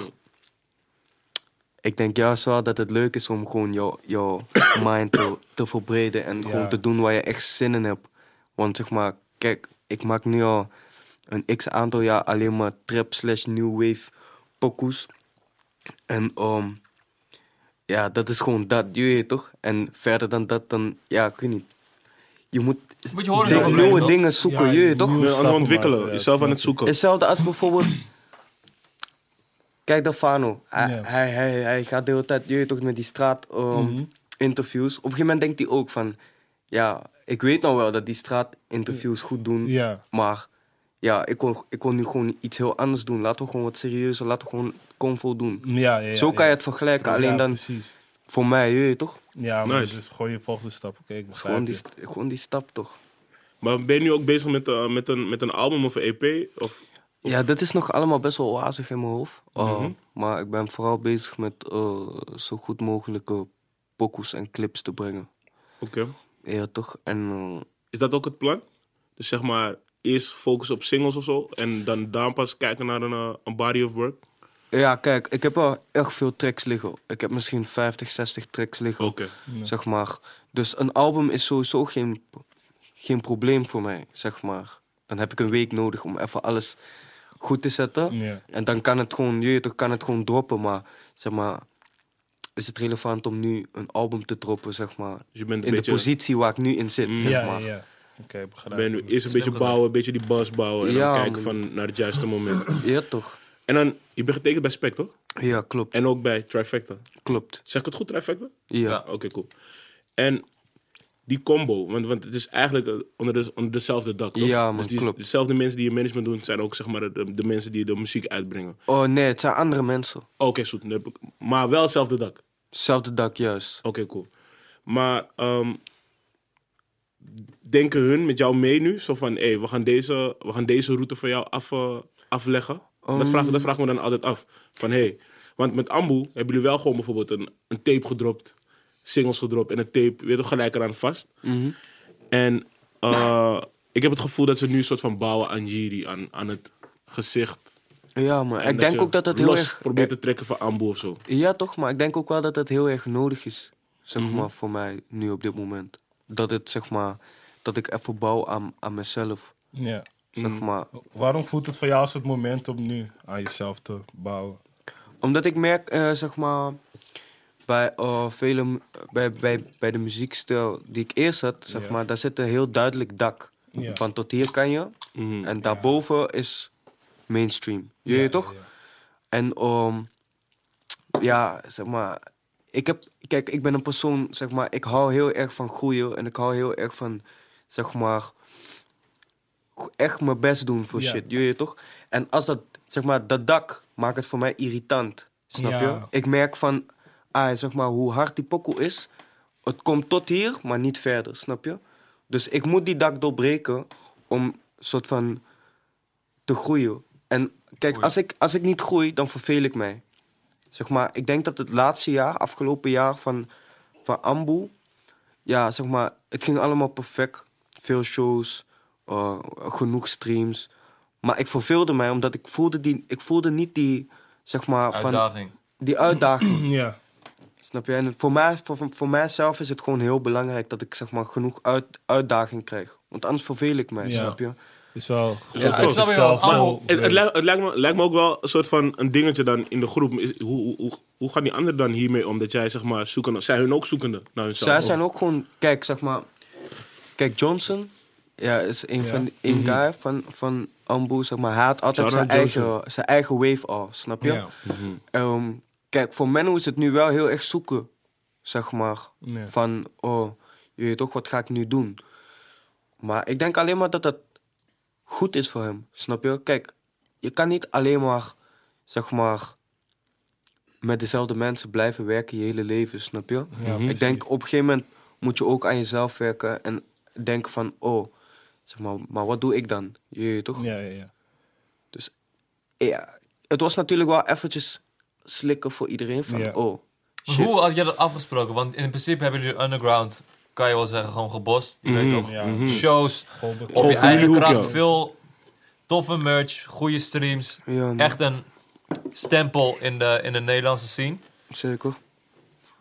Ik denk juist wel dat het leuk is om gewoon jouw jou mind te, te verbreden en
Ja.
gewoon te doen waar je echt zin in hebt. Want zeg maar, kijk, ik maak nu al een x aantal jaar alleen maar trap slash new wave pokoes. En ehm, ja, dat is gewoon dat, je weet toch? En verder dan dat, dan, ja, ik weet niet. Je moet
Moet je horen
de-
erover
nieuwe
blijven,
dingen zoeken,
Ja,
je weet toch?
Je bent aan
nieuwe
het
stappen
ontwikkelen,
maken, ja,
jezelf aan het
snap
zoeken.
Hetzelfde als bijvoorbeeld. Kijk, Dalfano. Hij,
Ja.
hij, hij, hij gaat de hele tijd, je weet toch, met die
Mhm.
straatinterviews. interviews. Op een gegeven moment denkt hij ook van... Ja, ik weet nou wel dat die straatinterviews goed doen.
ik. Ja.
Maar ja, ik kon, ik kon nu gewoon iets heel anders doen. Laten we gewoon wat serieuzer, laten we gewoon convo doen.
Ja, ja, ja,
Zo kan je
ja.
het vergelijken.
Ja,
Alleen dan,
precies.
voor mij, je weet toch?
Ja, maar
Nice.
dus gewoon je volgende stap. Oké, ik begrijp
Gewoon die,
je.
st- gewoon die stap toch.
Maar ben je nu ook bezig met, eh, met, een, met een album of een EP? Of,
Ja, dit is nog allemaal best wel wazig in mijn hoofd. Uh,
Mhm.
Maar ik ben vooral bezig met eh, zo goed mogelijke pokoes en clips te brengen.
oké.
Ja, toch? En eh,
Is dat ook het plan? Dus zeg maar, eerst focus op singles of zo. En dan, dan pas kijken naar een, eh, een body of work.
eh, ja, kijk, ik heb wel echt veel tracks liggen. Ik heb misschien 50, 60 tracks liggen,
Oké.
zeg maar. Dus een album is sowieso geen, geen probleem voor mij, zeg maar. Dan heb ik een week nodig om even alles goed te zetten.
Ja.
En dan kan het gewoon, je weet toch, kan het gewoon droppen. Maar zeg maar, is het relevant om nu een album te droppen, zeg maar?
Dus je bent een
in de
beetje...
positie waar ik nu in zit, zeg
Ja,
maar.
ja. Oké, begrijp
Ben je nu
ik.
eerst een beetje
gedaan.
bouwen, een beetje die bas bouwen. En
Ja,
dan kijken
man.
van naar het juiste moment.
Ja, toch?
En dan, je bent getekend bij Spec, toch?
Ja, klopt.
En ook bij Trifecta.
Klopt.
Zeg ik het goed, Trifecta?
Ja.
Ja.
Oké, cool. En die combo, want, want het is eigenlijk eh, onder, de, onder dezelfde dak, toch?
Ja, man,
dus die,
klopt.
Dezelfde mensen die je management doen, zijn ook zeg maar de, de mensen die de muziek uitbrengen.
Oh nee, het zijn andere mensen.
Oké, goed. dan heb ik- Maar wel hetzelfde dak.
Hetzelfde dak juist.
Oké, cool. Maar ehm, denken hun met jou mee nu? Zo van, hé, we gaan deze, we gaan deze route van jou af, eh, afleggen? Dat, vraag, dat vraag ik me dan altijd af. Van, hé, want met Ambu hebben jullie wel gewoon bijvoorbeeld een, een tape gedropt. Singles gedropt en een tape, weet je toch, gelijk eraan vast. En eh, ik heb het gevoel dat ze nu een soort van bouwen aan Jiri, aan, aan het gezicht.
Ja, maar
En
ik denk
je
ook dat dat heel
los
erg...
probeert te trekken van Ambu of zo.
Ja, toch? Maar ik denk ook wel dat dat heel erg nodig is. Zeg
Mhm.
maar voor mij nu op dit moment. Dat het zeg maar... Dat ik even bouw aan, aan mezelf.
Ja.
Mhm.
Zeg maar.
Waarom voelt het voor jou als het moment om nu aan jezelf te bouwen?
Omdat ik merk, eh, zeg maar, bij, eh, vele, mu- bij, bij, bij de muziekstijl die ik eerst had, zeg
Ja.
maar, daar zit een heel duidelijk dak.
Ja.
Van tot hier kan je
Mhm.
en daarboven is mainstream. Je weet
Ja,
toch?
ja,
En ehm, ja, zeg maar, ik heb, kijk, ik ben een persoon, zeg maar, ik hou heel erg van groeien en ik hou heel erg van, zeg maar, go- echt mijn best doen voor
Ja.
shit, je weet toch? En als dat, zeg maar, dat dak maakt het voor mij irritant, snap
Ja.
je? Ik merk van, ah, zeg maar, hoe hard die pokoe is, het komt tot hier, maar niet verder, snap je? Dus ik moet die dak doorbreken om soort van te groeien. En kijk,
Groeien.
als ik, als ik niet groei, dan verveel ik mij. Zeg maar, ik denk dat het laatste jaar, afgelopen jaar van, van Ambu, ja, zeg maar, het ging allemaal perfect. Veel shows, eh, genoeg streams. Maar ik verveelde mij omdat ik voelde, die, ik voelde niet die, zeg maar, van
Uitdaging.
die uitdaging.
Ja.
Snap je? En voor, mij, voor, voor- voor mijzelf is het gewoon heel belangrijk dat ik zeg maar, genoeg uit, uitdaging krijg. Want anders verveel ik mij,
Ja.
snap je?
Is wel.
ik
goed dat
snap
het
je wel.
zelf
Maar
zo-
Het, het, lijkt, het lijkt me, lijkt me ook wel een soort van een dingetje dan in de groep. Is- hoe, hoe- hoe, hoe gaan die anderen dan hiermee om? Dat jij zeg maar zoekende... Zijn hun ook zoekende naar hunzelf?
Zij zijn ook gewoon, kijk, zeg maar. Kijk, Johnson ja, is een
Ja. Mhm.
van een guy van, van Ambu, zeg maar. Hij had altijd zijn
Shout-out
eigen, zijn eigen wave al, snap je?
Ja. Mhm.
Ehm, kijk, voor Menno is het nu wel heel erg zoeken, zeg maar.
Ja.
Van, oh, je weet toch, wat ga ik nu doen? Maar ik denk alleen maar dat dat goed is voor hem, snap je? Kijk, je kan niet alleen maar, zeg maar, met dezelfde mensen blijven werken je hele leven, snap je?
Mhm.
Ja,
ik denk, op een gegeven moment moet je ook aan jezelf werken en denken van, oh, zeg maar, maar wat doe ik dan? Je weet toch?
Ja, ja, ja.
Ja, het was natuurlijk wel eventjes slikken voor iedereen van,
Ja.
oh,
Maar Hoe had jij dat afgesproken? Want in principe hebben jullie underground, kan je wel zeggen, gewoon gebost. Je weet
Mhm.
toch?
Ja.
Shows,
Gewoon be-
op
Gewoon
je
van
eigen
jullie hoek,
kracht,
ja.
veel toffe merch, goede streams.
ja, man,
Echt een stempel in de, in de Nederlandse scene.
zeker.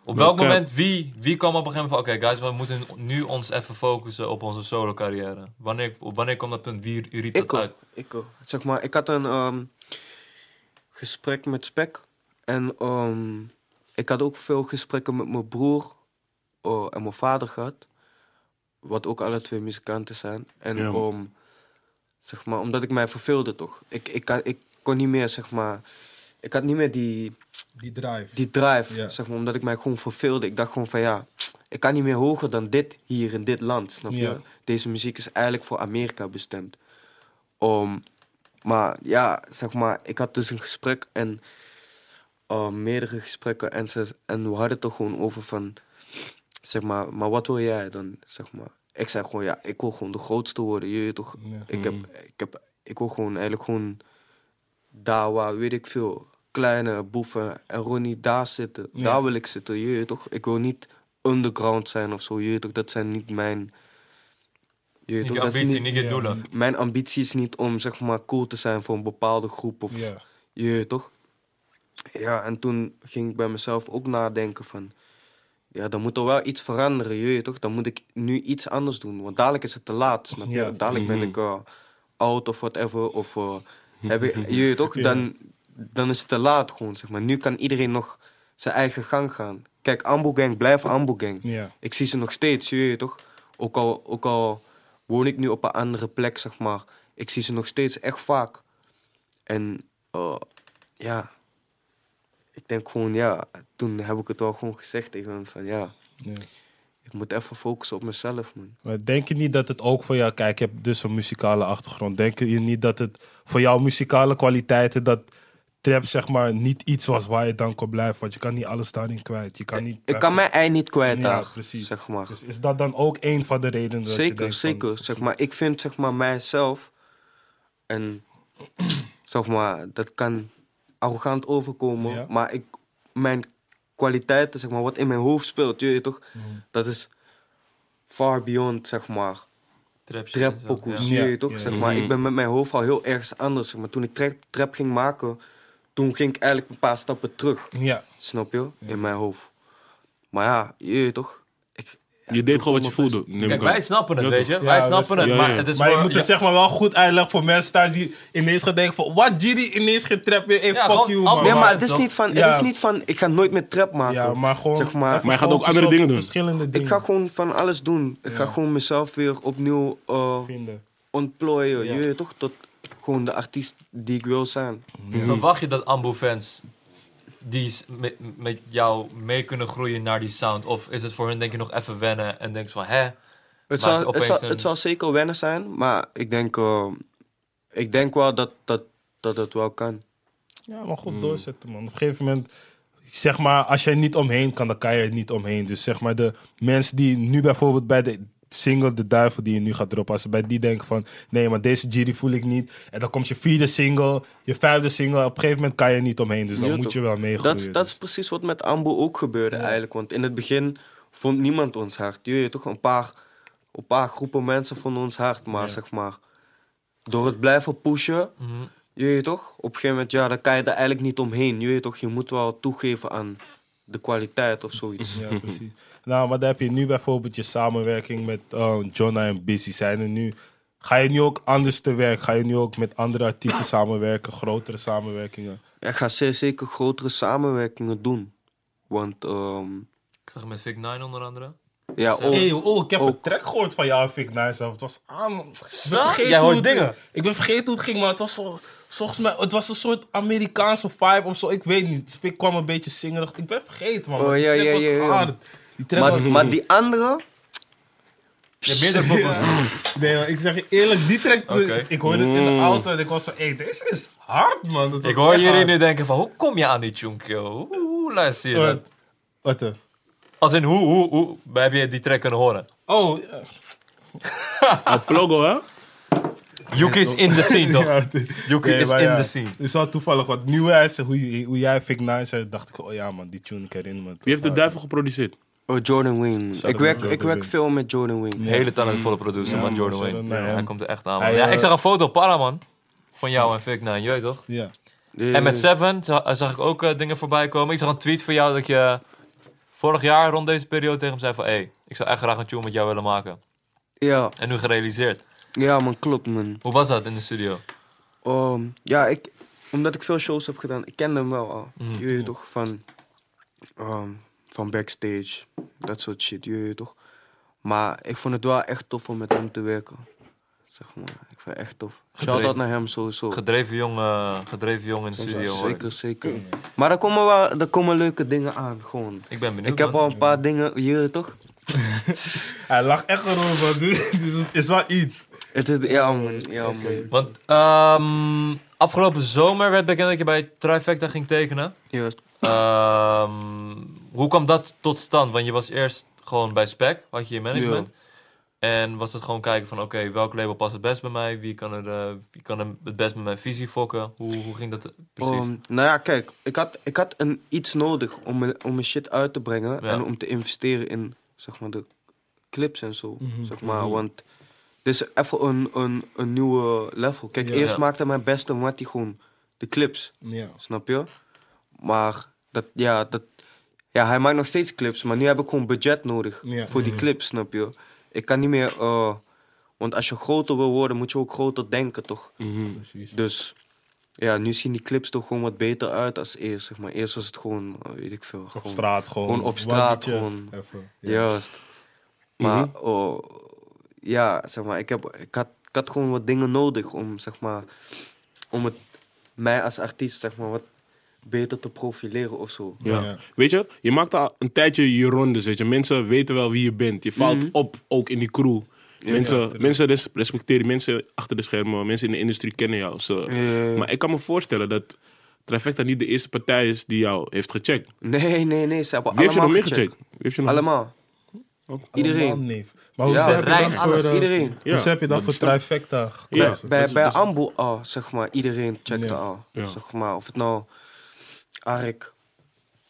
Op welk
Oké.
moment, wie, wie kwam op een gegeven moment van... Oké guys, we moeten nu ons even focussen op onze solo carrière. Wanneer, op wanneer komt dat punt? Wie riep
Ik
dat
ook.
uit?
Ik ook. Zeg maar, ik had een ehm, gesprek met Spek. En ehm, ik had ook veel gesprekken met mijn broer eh, en mijn vader gehad. Wat ook alle twee muzikanten zijn. En
Ja.
om, zeg maar, omdat ik mij verveelde toch. Ik, ik, kan- ik kon niet meer, zeg maar... Ik had niet meer die
Die drive.
die drive,
Ja.
zeg maar, omdat ik mij gewoon verveelde. Ik dacht gewoon van ja, ik kan niet meer hoger dan dit hier in dit land, snap je?
Ja.
Deze muziek is eigenlijk voor Amerika bestemd. Om, maar ja, zeg maar, ik had dus een gesprek en uh, meerdere gesprekken en, ze, en we hadden het er gewoon over van, zeg maar, maar wat wil jij dan, zeg maar? Ik zei gewoon ja, ik wil gewoon de grootste worden, je weet toch?
Ja.
Ik, heb,
Mm.
ik, heb, ik wil gewoon eigenlijk gewoon daar waar, weet ik veel, kleine boeven en Ronnie daar zitten.
Ja.
Daar wil ik zitten, je weet toch? Ik wil niet underground zijn of zo, je weet toch? Dat zijn niet mijn... Je weet
Niet je
toch, dat is
ambitie, niet je
ja.
doelen.
Mijn ambitie is niet om, zeg maar, cool te zijn voor een bepaalde groep of...
Ja.
Je weet toch? Ja, en toen ging ik bij mezelf ook nadenken van... Ja, dan moet er wel iets veranderen, je weet toch? Dan moet ik nu iets anders doen. Want dadelijk is het te laat, snap je?
Ja.
Dadelijk ben ik eh, oud of whatever. Of eh, heb ik, je weet toch?
Ja.
Dan, dan is het te laat gewoon, zeg maar. Nu kan iedereen nog zijn eigen gang gaan. Kijk, Ambo Gang, blijf Ambo Gang.
Ja.
Ik zie ze nog steeds, je weet toch? Ook al, ook al woon ik nu op een andere plek, zeg maar. Ik zie ze nog steeds echt vaak. En eh, ja, ik denk gewoon, ja, toen heb ik het wel gewoon gezegd tegen hem van ja,
Ja.
ik moet even focussen op mezelf, man.
Maar denk je niet dat het ook voor jou, kijk, je hebt dus een muzikale achtergrond. Denk je niet dat het voor jouw muzikale kwaliteiten, dat trap zeg maar niet iets was waar je dan kon blijven? Want je kan niet alles daarin kwijt. Je kan niet
Ik kan mijn ei niet kwijt
Ja,
daar,
precies.
zeg maar.
Dus is dat dan ook een van de redenen? Dat je
Zeker,
denkt van-
zeker. Zeg maar, ik vind zeg maar mijzelf en zeg maar, dat kan arrogant overkomen,
Ja.
maar ik, mijn kwaliteiten, zeg maar, wat in mijn hoofd speelt, je weet toch,
Mm.
dat is far beyond, zeg maar,
Trap, shit en
trap
zo.
pokoes,
Ja.
Ja.
je weet toch,
Ja, Mm.
zeg
ja.
maar, ik ben met mijn hoofd al heel ergens anders, zeg maar, toen ik trap, trap ging maken, toen ging ik eigenlijk een paar stappen terug,
Ja,
snap je, in mijn hoofd. Maar ja, je weet toch, ik,
Je deed gewoon wat je voelde. Neem
Kijk,
ik aan.
wij snappen het,
Ja,
weet
toch?
je? wij
Ja,
snappen
we-
het,
ja,
maar
ja.
het is
maar je
voor-
moet het
ja,
zeg maar wel goed uitleggen voor mensen thuis die ineens gaan denken van... Wat, Giri? Ineens geen trap meer? Hey,
Ja,
fuck
gewoon
you,
allemaal-
man.
Nee, maar
het
het is,
is
niet van,
Oh, ja.
het is niet van, ik ga nooit meer trap maken.
ja, maar gewoon...
Zeg maar,
even
Maar
je gaat ook
focus
andere
op
dingen doen.
Verschillende dingen
ik ga gewoon van alles doen. Ik ga
Ja.
gewoon mezelf weer opnieuw eh,
vinden.
ontplooien.
Ja.
Je weet toch, tot gewoon de artiest die ik wil zijn.
verwacht je dat Ambu-fans die s- met, met jou mee kunnen groeien naar die sound? Of is het voor hun denk je nog even wennen en denk je van, hè?
Het
Maakt
zal, het,
opeens
zal,
een-
het zal zeker wennen zijn, maar ik denk, eh, ik denk wel dat, dat, dat het wel kan.
Ja, maar
Hmm.
goed doorzetten, man. Op een gegeven moment, zeg maar, als jij niet omheen kan, dan kan je er niet omheen. Dus zeg maar, de mensen die nu bijvoorbeeld bij de single De Duivel die je nu gaat droppen, als ze bij die denken van, nee, maar deze Giri voel ik niet. En dan komt je vierde single, je vijfde single. Op een gegeven moment kan je niet omheen, dus dan
Ja,
moet
toch.
je wel meegroeien. Dus-
Dat, dat is precies wat met Ambo ook gebeurde eigenlijk. Want in het begin vond niemand ons hard. Je weet toch, een paar, een paar groepen mensen vonden ons hard. Maar zeg maar, door het blijven pushen,
mhm,
je weet toch, op een gegeven moment, ja, dan kan je er eigenlijk niet omheen. Je weet toch, je moet wel toegeven aan de kwaliteit of zoiets.
Ja, precies. Nou, maar dan heb je nu bijvoorbeeld je samenwerking met eh Jonna en Busy. Zijn er nu, ga je nu ook anders te werk? Ga je nu ook met andere artiesten samenwerken, grotere samenwerkingen?
Ik ga zeer zeker grotere samenwerkingen doen. Want, ehm,
ik zag hem met Vic Nine onder andere.
ja,
Zo.
ook-
Hey, oh, ik heb
ook.
een track gehoord van jou, Fik Nice. Het was aan. Ik ben vergeten
Jij hoort
hoe het-
dingen.
Ik ben vergeten hoe het ging, maar het was zo. Volgens mij, het was een soort Amerikaanse vibe of zo. Ik weet niet. Fik kwam een beetje zingerig. Ik ben vergeten, man.
Oh,
maar die
ja,
track
ja,
was
ja, ja.
hard. Die track was...
maar, maar die andere,
Je hebt meerdere pokoes.
Nee, maar ik zeg je eerlijk, die track...
Oké.
Ik hoorde het in
Mm.
de auto en ik was van... Hé, deze is hard, man. Dat was
Ik hoor
echt
jullie
hard.
nu denken van, hoe kom je aan die Chunkyo? Hoe, hoe luister je dat?
Wat? Wat dan?
Als in, hoe, hoe, hoe waar heb je die track kunnen horen?
Oh, ja.
Ah, Plogo, hè?
Yuki is in the scene, toch?
Ja,
Yuki is
maar
in
ja,
the scene.
Het is wel toevallig, want nu hij zei hoe, hoe jij Fik Nice zei, dacht ik... Oh ja, man, die tune ik herinner me.
Wie heeft de duivel geproduceerd?
oh, Jordan Wayne. Ik werk,
out naar
ik
Jordan
werk veel met Jordan Wayne.
Hele talentvolle producer,
Ja,
man, Jordan
man, zo
Wayne.
dan, nee,
hij
hem.
komt er echt aan, man.
Hij,
Ja,
eh,
ik zag een foto op Para, man. Van jou en Vic, nou, je weet toch?
Ja.
Die-
En met Seven za- zag ik ook eh, dingen voorbij komen. Ik zag een tweet van jou dat je eh, vorig jaar rond deze periode tegen hem zei van... hé, hey, ik zou echt graag een tune met jou willen maken.
Ja,
En nu gerealiseerd.
ja, man, klopt, man.
Hoe was dat in de studio?
Ehm, ja, ik, omdat ik veel shows heb gedaan, ik ken hem wel al.
Mm,
Je weet toch, van, ehm, van backstage, dat soort shit, je weet toch. Maar ik vond het wel echt tof om met hem te werken. Zeg maar, ik vond het echt tof. Shout out
Gedreven.
naar hem sowieso.
Gedreven jong, eh, gedreven jong in de studio, hoor.
Zeker, zeker. Maar er komen, wel, er komen leuke dingen aan, gewoon.
Ik ben benieuwd,
Ik heb
man.
al een paar dingen, je weet toch?
Hij lacht echt erover, dus het is wel iets.
Het is, ja man, ja man.
Want ehm, afgelopen zomer werd bekend dat je bij Trifecta ging tekenen.
Ja,
Ehm, hoe kwam dat tot stand? Want je was eerst gewoon bij Spec, had je je management. En was het gewoon kijken van, oké, welk label past het best bij mij? Wie kan, er, eh, wie kan er het best met mijn visie fokken? Hoe, hoe ging dat eh, precies?
Om- nou ja, kijk, ik had, ik had een, iets nodig om, mijn- om mijn shit uit te brengen
Ja.
en om te investeren in zeg maar, de clips en zo.
Mhm.
zeg maar,
Mhm.
Want dit is even een, een, een nieuwe level. Kijk,
Ja.
eerst
Ja.
maakte mijn beste Mattie gewoon de clips,
Ja.
snap je? Maar dat, ja, dat, ja, hij maakt nog steeds clips, maar nu heb ik gewoon budget nodig
Ja.
voor die
Mhm.
clips, snap je? Ik kan niet meer, eh, want als je groter wil worden, moet je ook groter denken, toch?
Precies.
Dus ja, nu zien die clips toch gewoon wat beter uit als eerst. Zeg maar. Eerst was het gewoon, eh, weet ik veel.
Op
gewoon-
straat gewoon.
gewoon op straat
waggietje,
gewoon.
Even. Ja.
Juist. Maar oh, ja, zeg maar, ik, heb, ik, had, ik had gewoon wat dingen nodig om, zeg maar, om het, mij als artiest, zeg maar, wat beter te profileren of zo.
Ja. Weet je, je maakt al een tijdje je rondes, weet je. Mensen weten wel wie je bent. Je valt op, ook in die crew. Mensen, mensen res- respecteren mensen achter de schermen. Mensen in de industrie kennen jou. Ze- Maar ik kan me voorstellen dat Trifecta niet de eerste partij is die jou heeft gecheckt. Wie
Nee, nee, nee, ze hebben
heeft je nog
allemaal
meer
gecheckt.
gecheckt? Oh. Wie heeft je nog
Allemaal.
Allemaal
Iedereen.
neef. Maar hoe
Ja,
heb je
Rijn,
dan voor,
alles,
eh,
Iedereen.
Ja.
hoe heb je dan voor trifecta gekozen?
Ja.
Bij,
dat is-
bij
dat is-
Ambu al, zeg maar, iedereen checkte
Ja.
al.
Ja.
Zeg maar, of het nou ARK,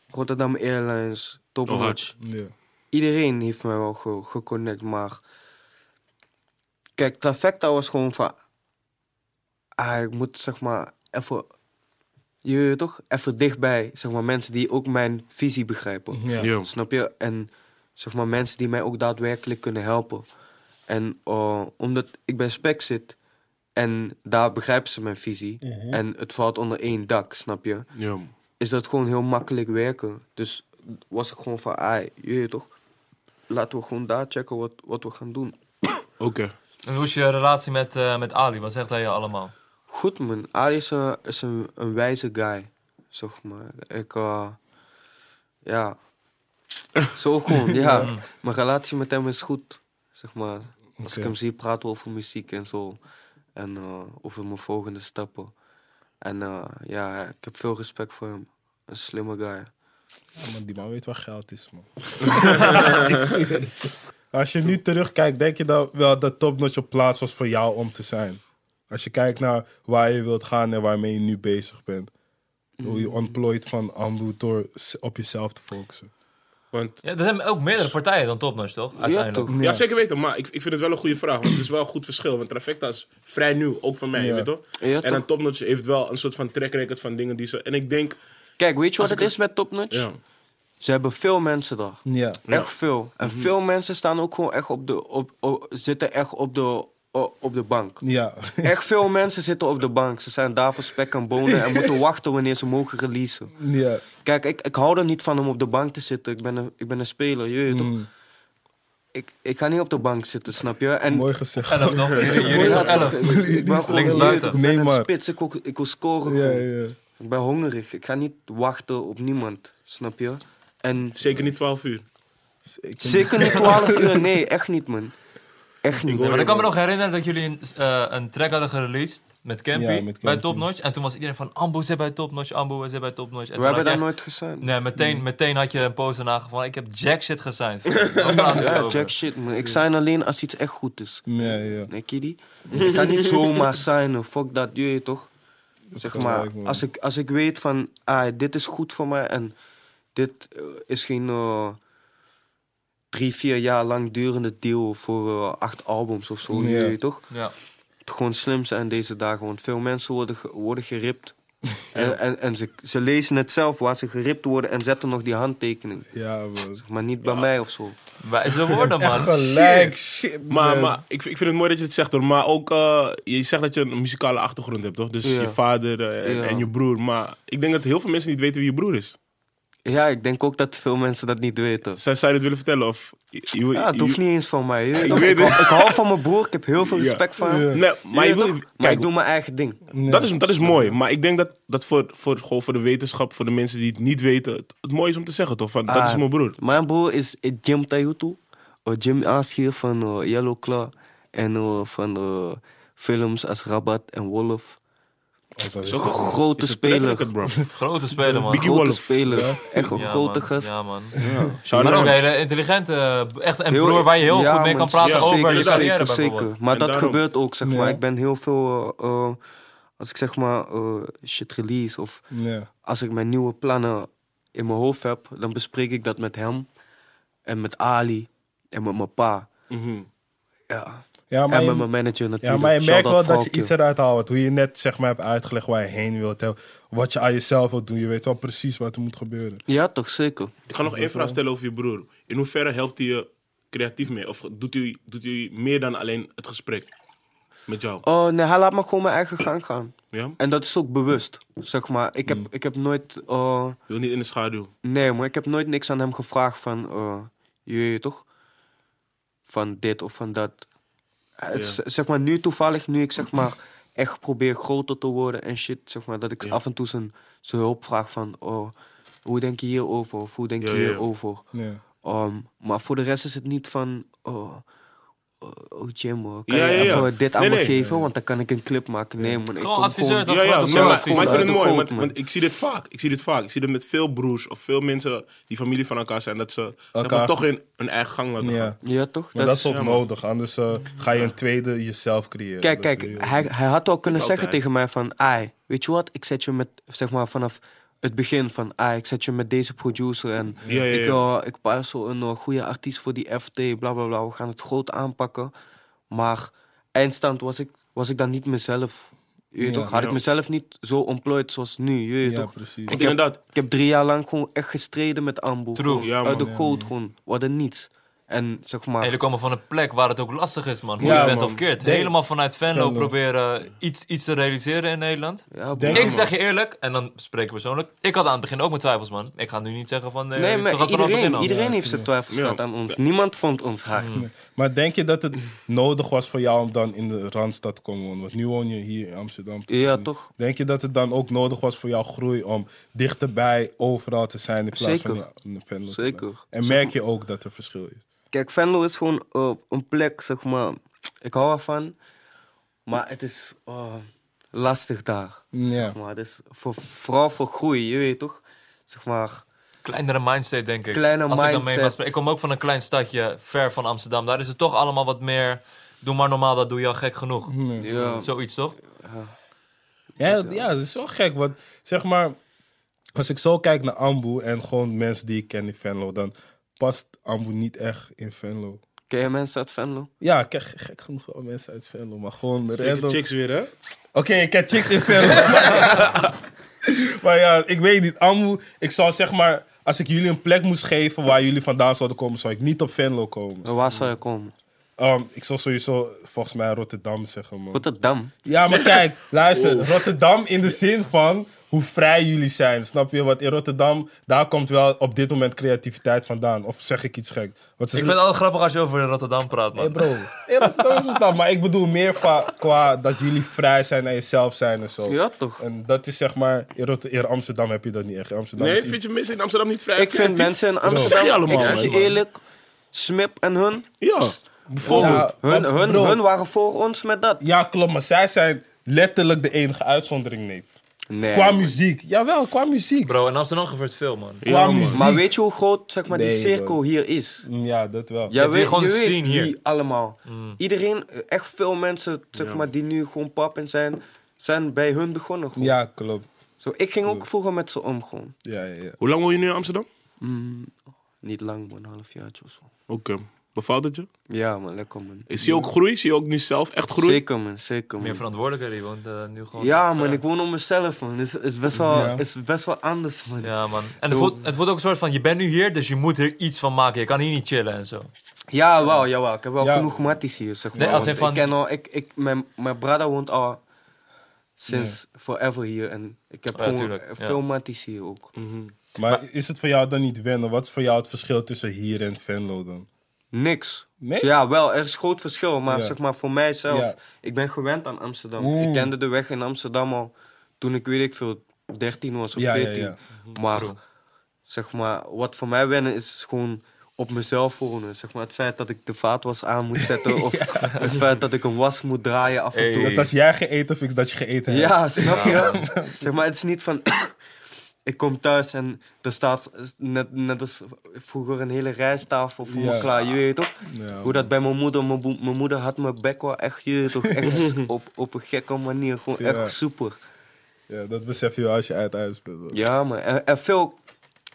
Rotterdam Airlines, Top
Oh, hard.
Notch.
Ja.
Iedereen heeft mij wel ge- geconnect, maar... Kijk, Trifecta was gewoon van... Ah, ik moet zeg maar even... Je weet toch? Even dichtbij, zeg maar, mensen die ook mijn visie begrijpen.
Ja.
Ja.
Snap je? En zeg maar mensen die mij ook daadwerkelijk kunnen helpen. En eh, omdat ik bij Spec zit en daar begrijpen ze mijn visie en het valt onder één dak, snap je?
Ja.
Is dat gewoon heel makkelijk werken. Dus was ik gewoon van, ai, je weet toch? Laten we gewoon daar checken wat, wat we gaan doen.
Oké.
En Hoe is je relatie met, eh, met Ali? Wat zegt hij je allemaal?
Goed man, Ali is een, is een, een wijze guy, zeg maar. Ik, eh, ja, zo gewoon, ja. Mijn relatie met hem is goed, zeg maar. Als ik
Oké.
hem zie praten we over muziek en zo. En eh, over mijn volgende stappen. En eh, ja, ik heb veel respect voor hem. Een slimme guy.
Ja, maar die man weet waar geld is, man. Ik zweer het. Als je nu terugkijkt, denk je dan wel dat Topnotch op plaats was voor jou om te zijn? Als je kijkt naar waar je wilt gaan en waarmee je nu bezig bent. Hoe je ontplooit van Ambu door s- op jezelf te focussen.
Want
Ja, er zijn ook meerdere partijen dan Topnotch, toch? Uiteindelijk.
toch?
Ja, zeker weten, maar ik, ik vind het wel een goede vraag. Want het is wel een goed verschil. Want Trifecta is vrij nieuw, ook van mij,
Ja.
je weet toch? en
Ja,
dan
toch?
Topnotch heeft wel een soort van track record van dingen die ze... En ik denk...
Kijk, weet je wat het is met Topnotch?
Ja,
Ze hebben veel mensen daar.
Ja.
Ja.
Echt veel. En veel mensen staan ook gewoon echt op de, op, op- zitten echt op de, op, op de bank.
Ja.
Echt veel mensen zitten op de bank. Ze zijn daar voor spek en bonen en moeten wachten wanneer ze mogen releasen.
ja.
Kijk, ik, ik hou er niet van om op de bank te zitten. Ik ben een, ik ben een speler, je weet toch?
Mm,
Ik, ik ga niet op de bank zitten, snap je? En
mooi gezegd.
Elf, toch? Jullie
Ja,
zijn elf.
toch, ik- ik- ik ben gewoon-
Links
je
buiten.
weet toch, Ik
Nee,
ben een
maar.
spits, ik wil, ik wil scoren.
Ja,
gewoon.
ja.
Ik ben hongerig. Ik ga niet wachten op niemand, snap je? En
zeker niet 12 uur.
Ik-
zeker niet 12 uur, nee, echt niet, man. Echt niet.
Ja, maar ik kan me nog herinneren dat jullie een, eh, een track hadden gereleased met Campy,
Ja, met Campy.
bij Topnotch. En toen was iedereen van Ambo zit bij Topnotch, Ambo zit bij Topnotch. En
We
toen
hebben
had je
daar
echt-
nooit gezien.
Nee,
Mm.
meteen, meteen had je een post daarna van ik heb jack shit gesigned. Daar praat ik
Ja,
over.
jack shit, man. Ik sign alleen als iets echt goed is.
Ja, ja.
Nee, kiddy. Ik ga niet zomaar signen. Fuck dat, je weet toch? Zeg maar,
gelijk, man.
als ik, als ik weet van, ah, dit is goed voor mij en dit eh, is geen eh, drie, vier jaar lang durende deal voor eh, acht albums of zo,
Ja.
je weet toch?
Ja.
Het gewoon slim zijn deze dagen, want veel mensen worden, ge- worden geript. En, en, en ze, ze lezen het zelf waar ze geript worden en zetten nog die handtekening.
Ja, man.
Maar niet bij mij of zo.
Wij zijn woorden, man.
Gelijk, shit,
Maar,
man.
maar ik, ik vind het mooi dat je het zegt hoor. Maar ook, eh, je zegt dat je een muzikale achtergrond hebt toch? Dus
Ja.
je vader eh, en,
Ja.
en je broer. Maar ik denk dat heel veel mensen niet weten wie je broer is.
Ja, ik denk ook dat veel mensen dat niet weten.
Zou, zou je dat willen vertellen? Of, je- je-
Ja, Ah, het hoeft
je-
niet eens van mij. je weet
Ik
toch?
weet
Ik,
het.
hou- ik hou van mijn broer, ik heb heel veel
Ja.
respect voor hem.
Ja.
Nee, maar
Je
je
weet
wil,
toch?
kijk,
maar ik doe mijn eigen ding.
Ja.
dat, is, dat is mooi. Maar ik denk dat, dat voor, voor, gewoon voor de wetenschap, voor de mensen die het niet weten, het, het mooi is om te zeggen toch? Van, dat
Ah.
is mijn broer.
Mijn broer is eh, Jim Tayutu. eh, Jim Aanschier van eh, Yellow Claw. En eh, van eh, films als Rabat en Wolf.
Oh, dat is-
Zo goed.
Grote
Is het
speler.
lekker, bro.
Grote speler, man.
Biggie
grote
Wolf.
speler.
Ja.
Echt een
Ja,
grote
man.
gast.
Ja, man.
Shout-out
Maar ook
naar
een
hem.
hele intelligente, eh, echt een
Heel-
broer waar je heel
ja,
goed mee
man,
kan praten
ja,
over je
zeker,
carrière
Zeker,
bijvoorbeeld.
zeker. Maar
En
dat
daarom-
gebeurt ook, zeg maar.
Ja.
Ik ben heel veel... eh, eh, als ik zeg maar eh, shit release of
Ja.
als ik mijn nieuwe plannen in mijn hoofd heb, dan bespreek ik dat met hem en met Ali en met mijn pa.
Mhm.
Ja.
Ja, maar
en
je-
met mijn manager natuurlijk.
Ja, maar je
Shout-out
merkt wel dat je
Valkje.
iets eruit haalt. Hoe je net zeg maar, hebt uitgelegd waar je heen wilt. hè, Wat je aan jezelf wilt doen. Je weet wel precies wat er moet gebeuren.
Ja, toch zeker.
Ik ga nog één vraag stellen over je broer. In hoeverre helpt hij je creatief mee? Of doet hij, doet hij meer dan alleen het gesprek met jou?
Oh nee, hij laat me gewoon mijn eigen gang gaan.
Ja?
En dat is ook bewust, zeg maar. Ik heb,
Mm.
ik heb nooit, eh,
Wil niet in de schaduw.
nee, maar ik heb nooit niks oh, aan hem gevraagd van, eh, je weet toch? Van dit of van dat. het is, zeg maar, nu toevallig, nu ik zeg maar echt probeer groter te worden en shit, zeg maar, dat ik
Ja.
af en toe zijn, zijn hulp vraag van, oh, hoe denk je hierover? Of hoe denk
Ja,
je
ja, ja.
hierover?
Ja.
Ehm, maar voor de rest is het niet van, oh, oh, oh Jim, hoor, kan
Ja,
je
ja, ja.
even dit aan
Nee,
me
nee.
geven? Want dan kan ik een clip maken. Nee, man, ik
Gewoon
kom
adviseur,
Ja,
dat-
ja,
grote
nee, maar,
zorgadvies
maar ik vind
uit
het
de
mooi,
goot,
want,
man.
want ik zie dit vaak. Ik zie dit vaak. Ik zie dit met veel broers of veel mensen die familie van elkaar zijn, dat ze zeg maar,
Elkaar-
toch in hun eigen gang laten gaan.
Ja.
Ja, toch?
Maar dat, is ook
jammer.
nodig, anders eh, ga je een tweede jezelf creëren.
Kijk,
Dat is
kijk,
heel-
hij, hij had al kunnen
Niet
zeggen
eh, altijd.
tegen mij van... Ai, weet je wat? Ik zet je met, zeg maar, vanaf het begin van... Ai, ik zet je met deze producer en...
Ja, ja,
Ik,
ja.
eh, ik pas zo een eh, goede artiest voor die FT, bla, bla, bla. We gaan het groot aanpakken. Maar eindstand was ik, was ik dan niet mezelf. Je weet
Ja,
toch? Had ik
ja.
mezelf niet zo ontplooid zoals nu, je weet
Ja,
toch?
precies.
Want inderdaad,
Ik heb drie jaar lang gewoon echt gestreden met Ambo.
True,
Gewoon
ja,
uit
man,
de
ja,
goot gewoon. We hadden niets. En zeg maar...
En jullie komen van een plek waar het ook lastig is, man. Hoe
Ja,
je bent
man.
of keert.
Denk-
Helemaal vanuit Venlo
Venlo.
proberen iets, iets te realiseren in Nederland.
ja, bro.
Denk-
ik
man.
zeg je eerlijk, en dan spreek ik persoonlijk. Ik had aan het begin ook mijn twijfels, man. Ik ga nu niet zeggen van... Nee,
Nee,
ik zag
maar
het vanaf het begin
iedereen,
al.
iedereen
Ja,
heeft zijn twijfels
Ja.
gehad aan ons. Niemand vond ons hard.
Maar denk je dat het nodig was voor jou om dan in de Randstad te komen wonen? Want nu woon je hier in Amsterdam.
Mm.
Ja, toch?
Denk je dat het dan ook nodig was voor jouw groei om dichterbij overal te zijn in plaats
Zeker.
van in- in Venlo te
Zeker.
blijven? En merk je ook dat er verschil is?
Kijk, Venlo is gewoon eh, een plek, zeg maar. Ik hou ervan. Maar het is eh, lastig daar.
Ja.
Maar het is voor, vooral voor groei, je weet toch? Zeg maar.
Kleinere mindset, denk ik.
Kleine
Als Ik, dan mee mag
mindset.
spreken. ik kom ook van een klein stadje, ver van Amsterdam. Daar is het toch allemaal wat meer... Doe maar normaal, dat doe je al gek genoeg.
Ja,
Zoiets, toch?
Ja, dat- ja, dat is wel gek. Want zeg maar, als ik zo kijk naar Ambu en gewoon mensen die ik ken in Venlo, dan past Ambu niet echt in Venlo.
ken je mensen uit Venlo?
Ja, ik ken ge- gek genoeg wel mensen uit Venlo, maar gewoon
zeker
random. Oké,
chicks weer, hè?
ik ken chicks in Venlo. maar ja, ik weet niet. Ambu, ik zou zeg maar, als ik jullie een plek moest geven waar jullie vandaan zouden komen, zou ik niet op Venlo komen.
Waar zou je komen?
Ehm, ik zou sowieso volgens mij Rotterdam zeggen, man.
Rotterdam.
Ja, maar kijk, luister. Rotterdam in de zin van hoe vrij jullie zijn. Snap je? Want in Rotterdam, daar komt wel op dit moment creativiteit vandaan. Of zeg ik iets gek? Want ze
Ik vind het altijd grappig als je over Rotterdam praat, man.
Hey bro, in Rotterdam is het dan, maar ik bedoel meer va- qua dat jullie vrij zijn en jezelf zijn en zo.
Ja, toch?
En dat is zeg maar, in, Rotter- in Amsterdam heb je dat niet echt. In Amsterdam
Nee,
is
vind je mensen in Amsterdam niet vrij?
Ik vind mensen in
Zeg
Amsterdam.
je allemaal,
ik zeg je
man.
eerlijk. Smip en hun,
Ja, bijvoorbeeld.
Ja,
hun,
maar
hun,
bro,
hun waren voor ons met dat.
ja, klopt, maar zij zijn letterlijk de enige uitzondering, neef.
Nee.
Qua muziek, jawel, qua muziek.
Bro, in Amsterdam gebeurt veel, man.
qua
man.
muziek.
Maar weet je hoe groot zeg maar, die
Nee,
cirkel
bro.
hier is?
Ja, dat wel.
Ja,
hebt hier
weet,
gewoon
je
een
weet
scene hier.
wie allemaal. Iedereen, eh, echt veel mensen zeg
Ja.
maar, die nu gewoon pappen zijn, zijn bij hun begonnen. gewoon.
Ja, klopt.
Zo, ik ging ook vroeger met ze om gewoon.
Ja, ja, ja.
Hoe lang woon je nu in Amsterdam?
Mm, niet lang, man, een half jaartje of zo.
Oké. ehm, Bevalt het je?
Ja, man, lekker, man.
Zie je ook groei? Zie je ook nu zelf echt groei?
Zeker, man, zeker,
Meer
man.
verantwoordelijker, die woont eh, nu gewoon...
Ja,
echt,
man,
eh,
ik woon op mezelf, man. Het is, is, best wel,
Ja.
is best wel anders, man. Ja,
Ja, man. En het voelt, het voelt ook een soort van, je bent nu hier, dus je moet er iets van maken. Je kan hier niet chillen en zo.
jawel, jawel. Ik heb wel
Ja.
genoeg matties hier, zeg maar.
Nee, als
want
in van-
Ik ken al, ik, ik, mijn, mijn brada woont al sinds forever hier. En ik heb
Ja,
gewoon
tuurlijk,
eh,
ja.
veel matties hier ook.
Mm.
Mhm.
Maar is het voor jou dan niet wennen? Wat is voor jou het verschil tussen hier en Venlo dan?
Niks.
Nee?
Ja, wel, er is groot verschil. Maar
Ja.
zeg maar voor mijzelf,
Ja.
ik ben gewend aan Amsterdam.
Mm.
Ik kende de weg in Amsterdam al toen ik, weet ik veel, 13 was of
Ja, ja,
14.
ja.
Maar
Mhm, True.
zeg maar, wat voor mij wennen is gewoon op mezelf wonen. Zeg maar, het feit dat ik de vaatwas aan moet zetten. Of het feit dat ik een was moet draaien af en toe.
Hey.
Dat als jij geëten fix dat je geëten hebt.
Ja, snap je? zeg maar, het is niet van... ik kom thuis en er staat net, net als vroeger een hele rijsttafel voor me
Ja.
klaar. Je weet toch?
Ja,
Hoe dat bij mijn moeder, mijn, boe- mijn moeder had mijn bek wel echt, je weet toch, echt op, op een gekke manier, gewoon
Ja.
echt super.
ja, dat besef je wel als je uit huis bent. hoor.
Ja man, en, en veel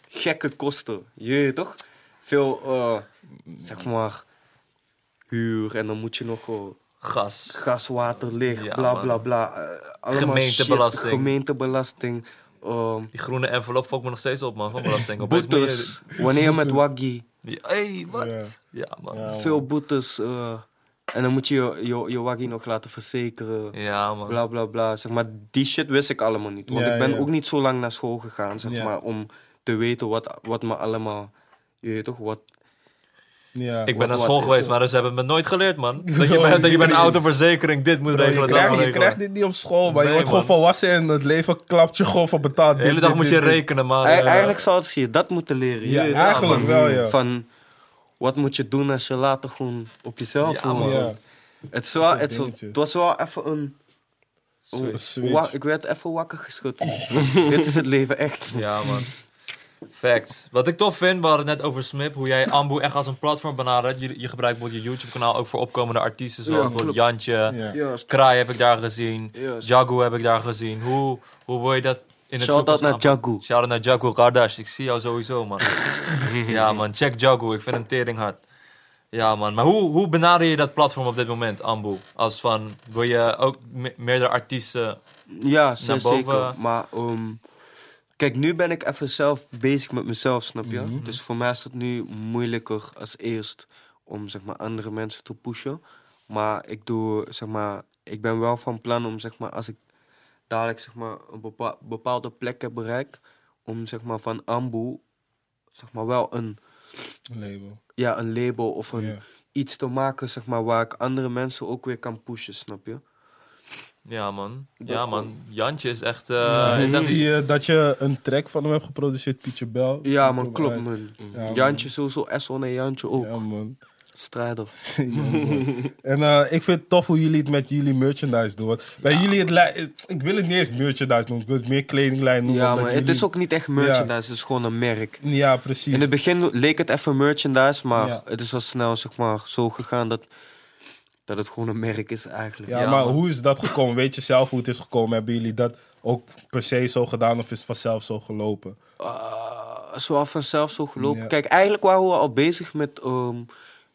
gekke kosten, je weet toch? Veel, eh, zeg maar, huur en dan moet je nog eh,
Gas.
gas, water, licht,
Ja,
bla
man.
bla bla. eh, allemaal
Gemeentebelasting.
shit, gemeentebelasting, ehm,
Die groene envelop fokt me nog steeds op, man, van belasting. Opeens moet je-
boetes, wanneer je met waggy,
Ja, hey, wat?
Ja.
Ja, man. Ja,
Ja, man.
veel boetes. eh, en dan moet je je, je, je waggy nog laten verzekeren.
man.
bla bla bla. Zeg maar, die shit wist ik allemaal niet. Want
Ja,
ik ben
ja.
ook niet zo lang naar school gegaan, zeg
Ja.
maar, om te weten wat, wat me allemaal, je weet toch, wat,
Ja.
Ik ben naar
what
school
is
geweest, maar dus ze hebben me nooit geleerd, man. Dat je bij, dat je bij een autoverzekering dit moet
je
regelen. dat
krijgt,
moet
je
regelen.
krijgt dit niet op school, maar je
Nee,
wordt gewoon
man.
volwassen en het leven klapt je gewoon van betaald.
De hele dag moet je rekenen, man. Eh,
Ei-
Ja.
Eigenlijk zouden ze je dat moeten leren.
Ja,
je-
eigenlijk
man.
wel, ja.
Van wat moet je doen als je later gewoon op jezelf
Ja,
gewoon-
man.
Ja.
Het, is wel,
Dat is een
het, is wel-
dingetje.
het was wel even een.
Een switch.
Wa- ik werd even wakker geschud. Dit is het leven echt.
Ja, man. Facts. Wat ik tof vind, we hadden het net over Smip, hoe jij Ambu echt als een platform benadert. Je, je gebruikt bijvoorbeeld je YouTube-kanaal ook voor opkomende artiesten, zoals
Ja,
bijvoorbeeld
klopt.
Jantje,
Ja.
Kraai heb ik daar gezien,
Juist.
Jagu heb ik daar gezien. Hoe, hoe wil je dat in de
Shout out
toekomst
naar
aanpakken?
Jagu.
Shout-out naar Jagu Kardash, ik zie jou sowieso, man. ja, man, check Jagu, ik vind hem tering hard. Ja, man, maar hoe, hoe benader je dat platform op dit moment, Ambu? Als van, wil je ook me- meerdere artiesten...
Ja, ze-
Naar boven.
zeker. Maar ehm, kijk, nu ben ik even zelf bezig met mezelf, snap je?
Mhm.
Dus voor mij is het nu moeilijker als eerst om zeg maar, andere mensen te pushen. Maar ik doe, zeg maar, ik ben wel van plan om zeg maar, als ik dadelijk zeg maar, een bepa- bepaalde plek heb bereikt, om zeg maar, van Ambu zeg maar, wel een,
Label.
ja, een label of een,
Ja.
iets te maken zeg maar, waar ik andere mensen ook weer kan pushen, snap je?
Ja, man. Ja,
Dat
man. Jantje is echt... eh,
Ik
is echt
zie je dat je een track van hem hebt geproduceerd, Pietje Bel.
Ja,
Die
man,
komt
klopt,
uit.
man.
Ja, man.
Jantje sowieso, S1 en Jantje ook.
Ja, man.
Strijder.
Ja, man. en eh, ik vind het tof hoe jullie het met jullie merchandise doen. want Bij jullie het li- Ik wil het niet eens merchandise noemen, ik wil het meer kledinglijn noemen.
Ja,
omdat
maar het
jullie-
is ook niet echt merchandise, het is gewoon een merk.
Ja, precies.
In het begin leek het even merchandise, maar
Ja.
het is al snel zeg maar, zo gegaan dat, dat het gewoon een merk is eigenlijk.
Ja,
Ja,
maar
man.
hoe is dat gekomen? Weet je zelf hoe het is gekomen? Hebben jullie dat ook per se zo gedaan of is het vanzelf zo gelopen?
Ah, is wel vanzelf zo gelopen.
Ja.
Kijk, eigenlijk waren we al bezig met, ehm,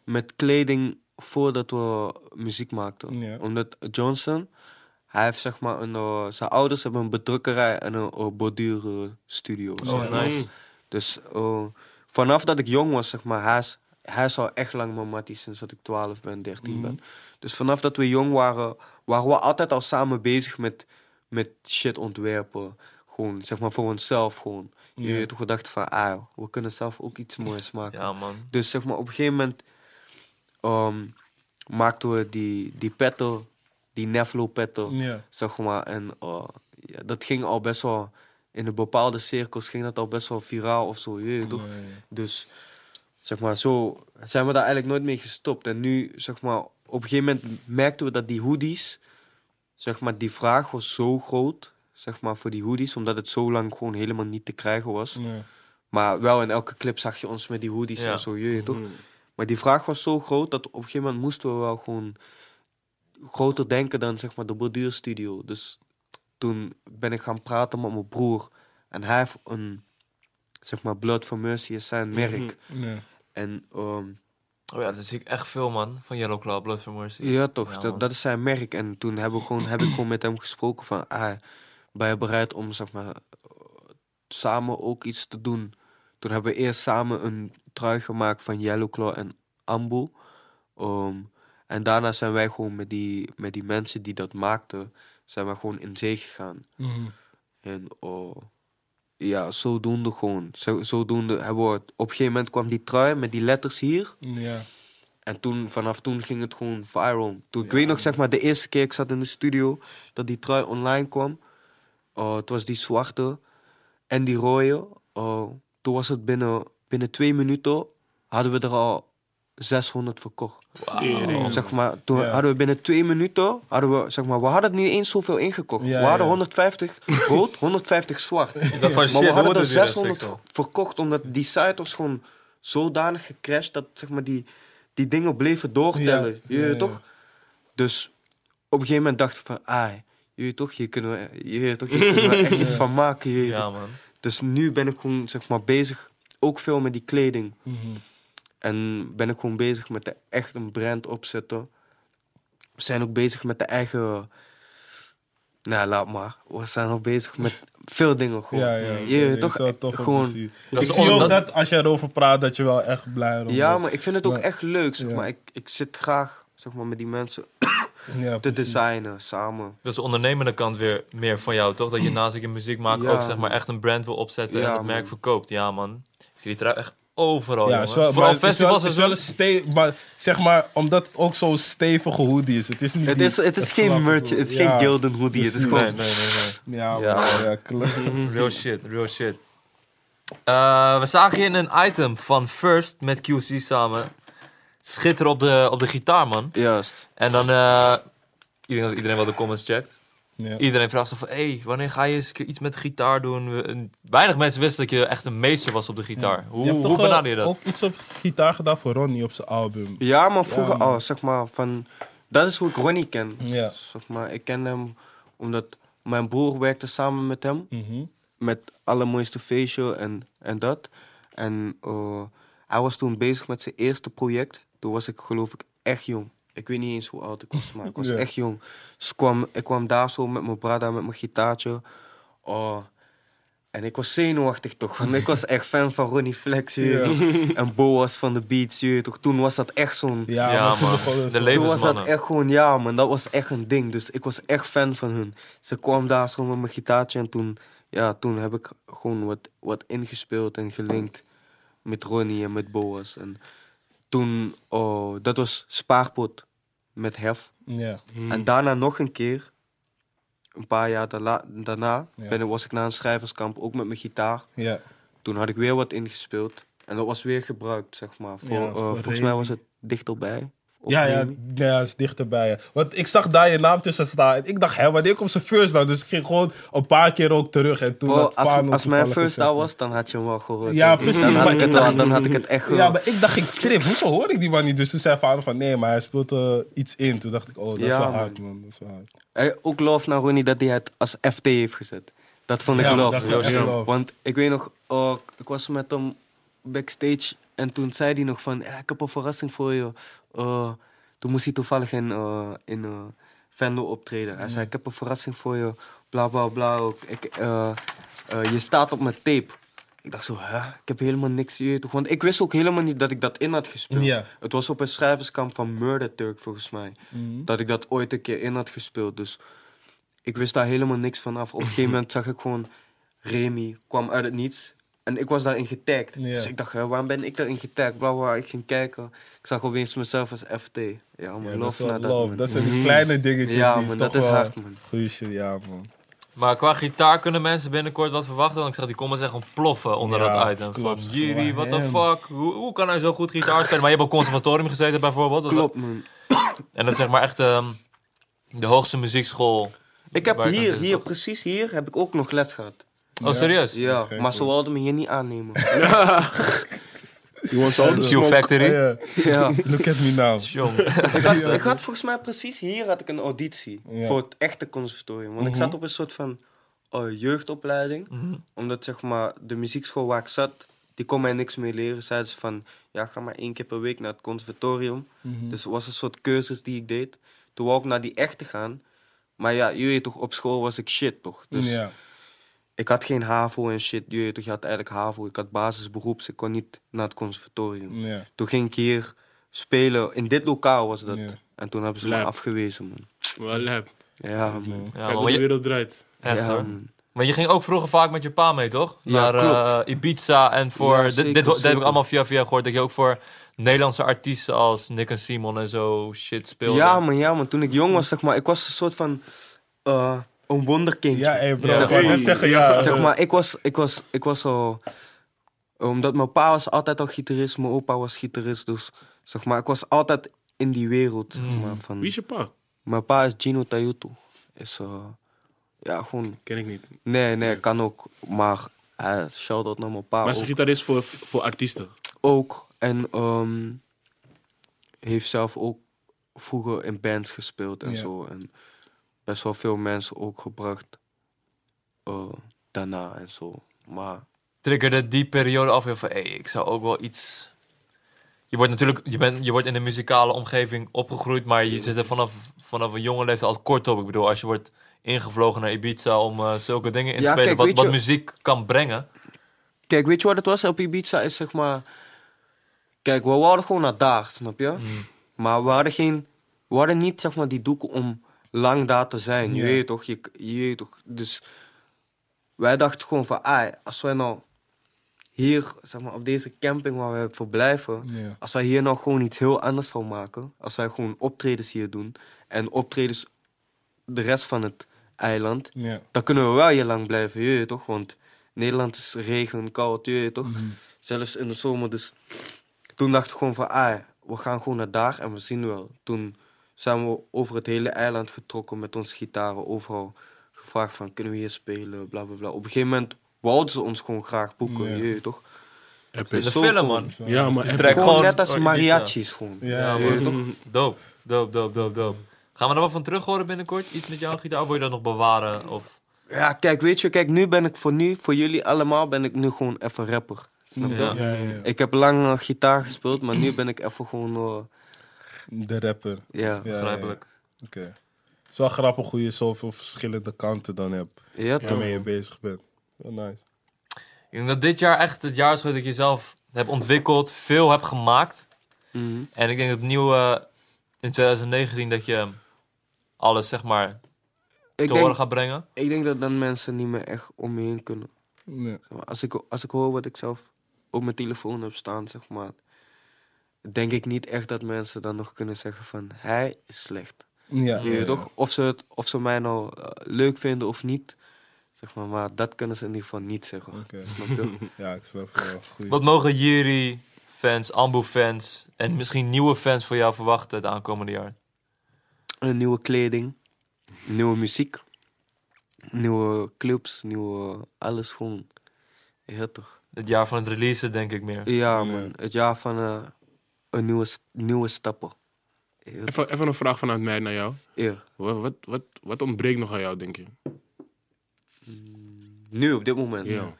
met kleding voordat we muziek maakten.
Ja.
Omdat Johnson, hij heeft zeg maar een, eh, zijn ouders hebben een bedrukkerij en een eh, borduurstudio.
Oh, nice.
Dus eh, vanaf dat ik jong was, zeg maar, hij is, hij is al echt lang mijn mattie sinds dat ik 12 ben, 13 ben. Dus vanaf dat we jong waren, waren we altijd al samen bezig met, met shit ontwerpen. Gewoon, zeg maar, voor onszelf gewoon. Je
Ja.
hebt toch gedacht van, ah, we kunnen zelf ook iets moois maken.
Ja, man.
Dus zeg maar, op een gegeven moment ehm, maakten we die, die petten, die Neflo petten
Ja.
zeg maar. En eh, ja, dat ging al best wel, in de bepaalde cirkels ging dat al best wel viraal of zo, je weet toch? Dus zeg maar, zo zijn we daar eigenlijk nooit mee gestopt. En nu, zeg maar, op een gegeven moment merkten we dat die hoodies, zeg maar, die vraag was zo groot, zeg maar, voor die hoodies, omdat het zo lang gewoon helemaal niet te krijgen
Mm.
was.
Ja.
Maar wel in elke clip zag je ons met die hoodies
Ja.
en zo, je weet toch?
Mm.
Maar die vraag was zo groot dat op een gegeven moment moesten we wel gewoon groter denken dan zeg maar de borduurstudio. Dus toen ben ik gaan praten met mijn broer. En hij heeft een, zeg maar, Blood for Mercy is zijn merk.
Mhm.
Ja.
En ehm,
Oh ja, dat zie ik echt veel, man. Van Yellow Claw, Blood for Mercy.
ja, toch,
Ja, man.
dat, dat is zijn merk. En toen hebben we gewoon, heb ik gewoon met hem gesproken van, ah, ben je bereid om zeg maar, eh, samen ook iets te doen? Toen hebben we eerst samen een trui gemaakt van Yellow Claw en Ambu. Ehm, en daarna zijn wij gewoon met die, met die mensen die dat maakten, zijn we gewoon in zee gegaan.
Mhm.
En oh, ja, zodoende gewoon. Zo, zodoende hebben we, het- op een gegeven moment kwam die trui met die letters hier.
Ja.
En toen, vanaf toen ging het gewoon viral. Toen, ik weet nog, zeg maar, de eerste keer ik zat in de studio, dat die trui online kwam. Eh, het was die zwarte en die rode. Eh, toen was het binnen, binnen twee minuten, hadden we er al 600 verkocht. Oh,
Tering.
Zeg maar, toen
Ja.
hadden we binnen twee minuten, hadden we, zeg maar, we hadden niet eens zoveel ingekocht.
Ja,
we hadden
ja.
150 rood, 150 zwart.
Dat van
Maar
shit,
we
hoe
hadden
wordt
er
het hier echt
600
fixen?
verkocht, omdat die site was gewoon zodanig gecrashed dat zeg maar, die, die dingen bleven doortellen.
Ja,
Je
ja,
weet
ja.
toch? Dus op een gegeven moment dacht ik van, ah, je weet toch, hier kunnen we, je weet toch, hier kunnen we echt iets van maken. je weet
Ja,
toch?
man.
Dus nu ben ik gewoon zeg maar, bezig, ook veel met die kleding.
Mhm.
En ben ik gewoon bezig met de, echt een brand opzetten. We zijn ook bezig met de eigen... Nou, laat maar. We zijn ook bezig met veel dingen gewoon.
Ja, ja.
Je weet
dat
toch?
is wel tof om te
gewoon,
zien.
Dat
ik
is
zie
on-
ook
dat-
dat als je erover praat, dat je wel echt blij erom
Ja,
wordt.
maar ik vind het ook
Maar-
echt leuk, zeg
ja.
maar. Ik, ik zit graag, zeg maar, met die mensen
Ja,
te
precies.
designen, samen.
Dat is de ondernemende kant weer meer van jou, toch? Dat je naast ik in muziek maak
Ja,
ook zeg maar
man.
echt een brand wil opzetten en
Ja,
het merk
man.
verkoopt. Ja, man. Ik zie die trui echt overal,
Ja,
jongen.
is wel- maar
Vooral
het is wel-
festivals
het
is
is wel
wel...
een ste- maar zeg maar, omdat het ook zo'n stevige hoodie is. Het is, niet
Het
die-
is, het is
dat
geen
slappe
merch,
hoodie.
het is
Ja.
geen Gilden hoodie. Het is gewoon...
Nee, nee, nee, nee.
Ja,
Ja.
maar, ja, klopt.
Real shit, real shit. Eh, we zagen hier een item van First met QC samen. Schitteren op de, op de gitaar, man.
Juist.
En dan... eh, ik denk dat iedereen wel de comments checkt.
Ja.
Iedereen vraagt zich van... hey, wanneer ga je eens een keer iets met de gitaar doen? We- en Weinig mensen wisten dat je echt een meester was op de gitaar. Hoe,
Je hebt
hoe
toch, eh,
benader je dat?
ook iets op gitaar gedaan voor Ronnie op zijn album.
Ja, maar vroeger
man.
al, zeg maar, van... Dat is hoe ik Ronnie ken.
Ja.
Zeg maar, ik ken hem omdat mijn broer werkte samen met hem.
Mhm.
Met Allermooiste Facial en, en dat. En eh, hij was toen bezig met zijn eerste project. Toen was ik geloof ik echt jong. Ik weet niet eens hoe oud ik was, maar ik was
Ja.
echt jong. Dus ik kwam, ik kwam daar zo met mijn brada, met mijn gitaartje. Oh, en ik was zenuwachtig toch, want ik was echt fan van Ronnie Flex. je weet toch. En Boas van de Beats. je weet toch. Toen was dat echt zo'n...
Ja,
Ja,
maar toen
man.
begon het
De
zo.
le-
Toen was dat
Levensmannen.
echt gewoon, ja man, dat was echt een ding. Dus ik was echt fan van hun. Ze kwam daar zo met mijn gitaartje en toen, ja, toen heb ik gewoon wat, wat ingespeeld en gelinkt met Ronnie en met Boas. En toen, oh, dat was Spaarpot met Hef.
Ja.
En daarna nog een keer, een paar jaar daarna, daarna
Ja.
ben ik- was ik naar een schrijverskamp, ook met mijn gitaar.
Ja.
Toen had ik weer wat ingespeeld en dat was weer gebruikt, zeg maar. Voor,
Ja,
eh,
voor
volgens mij
Remy.
was het dichterbij. Of
Ja, ja,
Remy.
ja, is dichterbij. ja. Want ik zag daar je naam tussen staan. En ik dacht, hè, wanneer komt zijn first down? Dus ik ging gewoon een paar keer ook terug. En toen
Bro,
had
als,
Fano
als mijn
toevallig
first
gezegd,
daar was, dan had je hem wel gehoord.
Ja,
hoor.
precies,
Dan had,
maar
ik
ik
het,
dacht-
wel- dan had ik het echt gehoord.
Ja, maar ik dacht, ik trip. Hoezo hoor ik die man niet? Dus toen zei Fano van, nee, maar hij speelt eh, iets in. Toen dacht ik, oh, dat is
Ja,
wel
man.
hard, man. Dat is wel hard.
Eh, Ook love naar Ronnie dat hij het als FT heeft gezet. Dat vond ik
Ja,
love.
dat is wel echt
Ja.
love.
Want ik weet nog, oh, ik was met hem backstage en toen zei hij nog van, "Ja, ik heb een verrassing voor je. Eh, toen moest hij toevallig in, eh in eh, Venlo optreden. Hij zei, ik heb een verrassing voor je, bla bla bla. Ook. Ik, eh, eh, je staat op mijn tape. Ik dacht zo, hè? ik heb helemaal niks hier. toch?" Want ik wist ook helemaal niet dat ik dat in had gespeeld.
Ja.
Het was op een schrijverskamp van Murder Turk volgens mij.
Mhm.
Dat ik dat ooit een keer in had gespeeld. Dus ik wist daar helemaal niks van af. Op een gegeven moment zag ik gewoon Remy kwam uit het niets. En ik was daarin getagd.
Ja.
Dus ik dacht, hè, waarom ben ik daarin getagd? Bla, bla, ik ging kijken. Ik zag opeens mezelf als FT. Ja, man,
Ja, dat is
love
wel
naar dat,
love.
man.
Dat zijn die
Mhm.
kleine dingetjes
Ja,
die
man,
toch
dat is
wel-
hard, man.
Goeie shit, ja, man.
Maar qua gitaar kunnen mensen binnenkort wat verwachten. Want ik zag die comments echt ontploffen onder
Ja,
dat item.
klopt.
Van, Jiri, what the
Hem.
fuck? Hoe, hoe kan hij zo goed gitaar spelen? Maar je hebt op conservatorium gezeten bijvoorbeeld. Dat-
Klopt, man.
En dat is zeg maar echt ehm, de hoogste muziekschool.
Ik heb
waar aan
hier,
zit,
hier,
toch?
precies hier, heb ik ook nog les gehad.
Oh, serieus?
Ja,
gek,
maar ze
man.
wilden me hier niet aannemen.
You want all the
Q
smoke?
Factory.
Oh, ja.
ja. Dus-
Look at me now.
Jong.
Ik had, ik had volgens mij precies hier had ik een auditie
Ja. Mhm.
voor het echte conservatorium. Want ik zat op een soort van eh, jeugdopleiding. Omdat zeg maar de muziekschool waar ik zat, die kon mij niks meer leren. Zeiden ze van, ja ga maar één keer per week naar het conservatorium.
Mhm.
Dus het was een soort cursus die ik deed. Toen wou ik naar die echte gaan. Maar ja, je weet toch, op school was ik shit toch. Dus
Ja.
ik had geen HAVO en shit. Je weet toch, je had eigenlijk HAVO. Ik had basisberoeps, ik kon niet naar het conservatorium.
Ja.
Toen ging ik hier spelen. In dit lokaal was dat.
Ja.
En toen hebben ze me
Lijp.
afgewezen, man.
Wel lab.
Ja, man.
Ja,
Kijk
maar
hoe de
je,
wereld draait.
echt
Ja,
hoor.
man.
Maar je ging ook vroeger vaak met je pa mee, toch?
Ja,
Naar eh, Ibiza en voor...
Ja,
dit-
zeker,
dit, ho- dit heb
zeker.
ik allemaal via via gehoord. Dat je ook voor Nederlandse artiesten als Nick en Simon en zo shit speelde.
Ja, man, ja, man. Toen ik jong was, zeg maar, ik was een soort van... eh, een wonderkindje.
Ja, hey eh, bro.
Ja.
Ik wou net zeggen, ja.
Zeg maar, ik was, ik was, ik was al... Omdat mijn pa was altijd al gitarist, mijn opa was gitarist. Dus, zeg maar, ik was altijd in die wereld, zeg maar. Van...
Mm. Wie is je pa?
Mijn pa is Gino Tayuto. Is, eh, ja, gewoon...
Ken ik niet.
Nee, nee, kan ook. Maar, eh, shout-out naar mijn pa
Maar
ook.
zijn gitarist voor, voor artiesten.
ook. En ehm, heeft zelf ook vroeger in bands gespeeld en
Ja.
zo. En best wel veel mensen ook gebracht eh, daarna en zo. Maar
triggerde die periode af weer van, hey, ik zou ook wel iets... Je wordt natuurlijk je bent, je wordt in een muzikale omgeving opgegroeid, maar je zit er vanaf, vanaf een jonge leeftijd al kort op. Ik bedoel, als je wordt ingevlogen naar Ibiza om eh, zulke dingen in te
Ja,
spelen,
kijk,
wat,
weet
wat
je-
muziek kan brengen.
kijk, weet je wat het was op Ibiza? Is zeg maar... Kijk, we waren gewoon naar daar, snap je? Maar we hadden, geen, we hadden niet zeg maar, die doeken om lang daar te zijn. Je
Ja.
weet toch? Je, je weet toch? Dus wij dachten gewoon van, ah, als wij nou hier, zeg maar, op deze camping waar we verblijven,
Ja.
als wij hier nou gewoon iets heel anders van maken, als wij gewoon optredens hier doen en optredens de rest van het eiland,
Ja.
dan kunnen we wel hier lang blijven, je weet toch? Want Nederland is regen, koud, je weet toch?
Mhm.
Zelfs in de zomer. Dus toen dacht ik gewoon van, ah, we gaan gewoon naar daar en we zien wel. Toen zijn we over het hele eiland getrokken met onze gitaren, overal gevraagd van, kunnen we hier spelen, bla bla bla. Op een gegeven moment wouden ze ons gewoon graag boeken,
Ja.
je weet toch?
In
is
de
zo
film,
cool.
man.
Ja, maar
Die
echt-
track
Gewoon,
gewoon...
net als
oh, Ibiza.
mariachis gewoon.
Ja,
Ja,
Je weet
man.
toch?
Dope, dope, dope, dope, dope. Gaan we er wat van terug horen binnenkort? Iets met jouw gitaar? Of wil je dat nog bewaren? Of...
Ja, kijk, weet je, kijk, nu ben ik voor nu, voor jullie allemaal, ben ik nu gewoon even rapper. Snap je?
Ja.
ja, ja.
Ik heb lang eh, gitaar gespeeld, maar nu ben ik even gewoon, eh,
De rapper.
ja.
Ja,
Begrijpelijk.
ja. Oké. Het is wel grappig hoe je zoveel verschillende kanten dan hebt.
Ja, toch?
Waarmee je bezig bent. Wel nice.
Ik denk dat dit jaar echt het jaar is geweest dat ik jezelf heb ontwikkeld, veel heb gemaakt.
Mhm.
En ik denk dat nieuwe in 2019 dat je alles zeg maar
Ik
te horen
denk,
gaat brengen.
ik denk dat dan mensen niet meer echt om me heen kunnen.
Ja.
Zeg maar, Als ik, als ik hoor wat ik zelf op mijn telefoon heb staan, zeg maar, denk ik niet echt dat mensen dan nog kunnen zeggen van hij is slecht.
Ja,
Je weet toch? Of ze, het, of ze mij nou eh, leuk vinden of niet, zeg maar, maar dat kunnen ze in ieder geval niet zeggen.
Oké.
Snap je?
Ja, ik snap het wel. Goeie.
Wat mogen Jiri fans, Ambu fans en misschien nieuwe fans voor jou verwachten het aankomende jaar?
Een nieuwe kleding, nieuwe muziek, nieuwe clubs, nieuwe alles gewoon. Ja, toch?
Het jaar van het releasen denk ik meer.
Ja,
Ja.
man. Het jaar van eh, een nieuwe, s- nieuwe stappen. Ja, toch?
even, even een vraag vanuit mij naar jou.
Ja.
Wa- Wat, wat, wat, ontbreekt nog aan jou, denk je?
Nu, op dit moment.
Ja.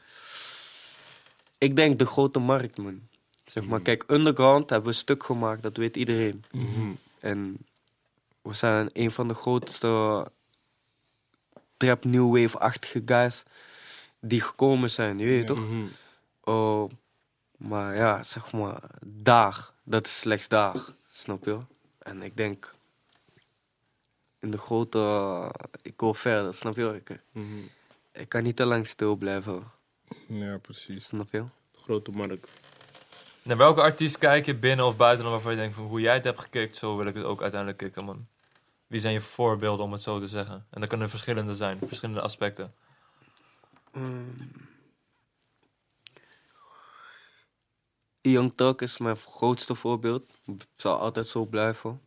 Ik denk de grote markt, man. Zeg maar, kijk, Underground hebben we een stuk gemaakt, dat weet iedereen.
Mhm.
En we zijn een van de grootste trap new wave-achtige guys die gekomen zijn, je weet toch?
Mhm.
Oh, maar ja, zeg maar, daar, dat is slechts daar, snap je? En ik denk, in de grote, ik wil verder, snap je? Ik,
Mhm.
ik kan niet te lang stil blijven,
Ja, precies.
snap je?
Grote markt.
Naar welke artiest kijk je binnen of buitenland waarvan je denkt van hoe jij het hebt gekikt, zo wil ik het ook uiteindelijk kicken, man. Wie zijn je voorbeelden om het zo te zeggen? En dat kunnen verschillende zijn, verschillende aspecten.
Ehm, Young Talk is mijn grootste voorbeeld. Zal altijd zo blijven.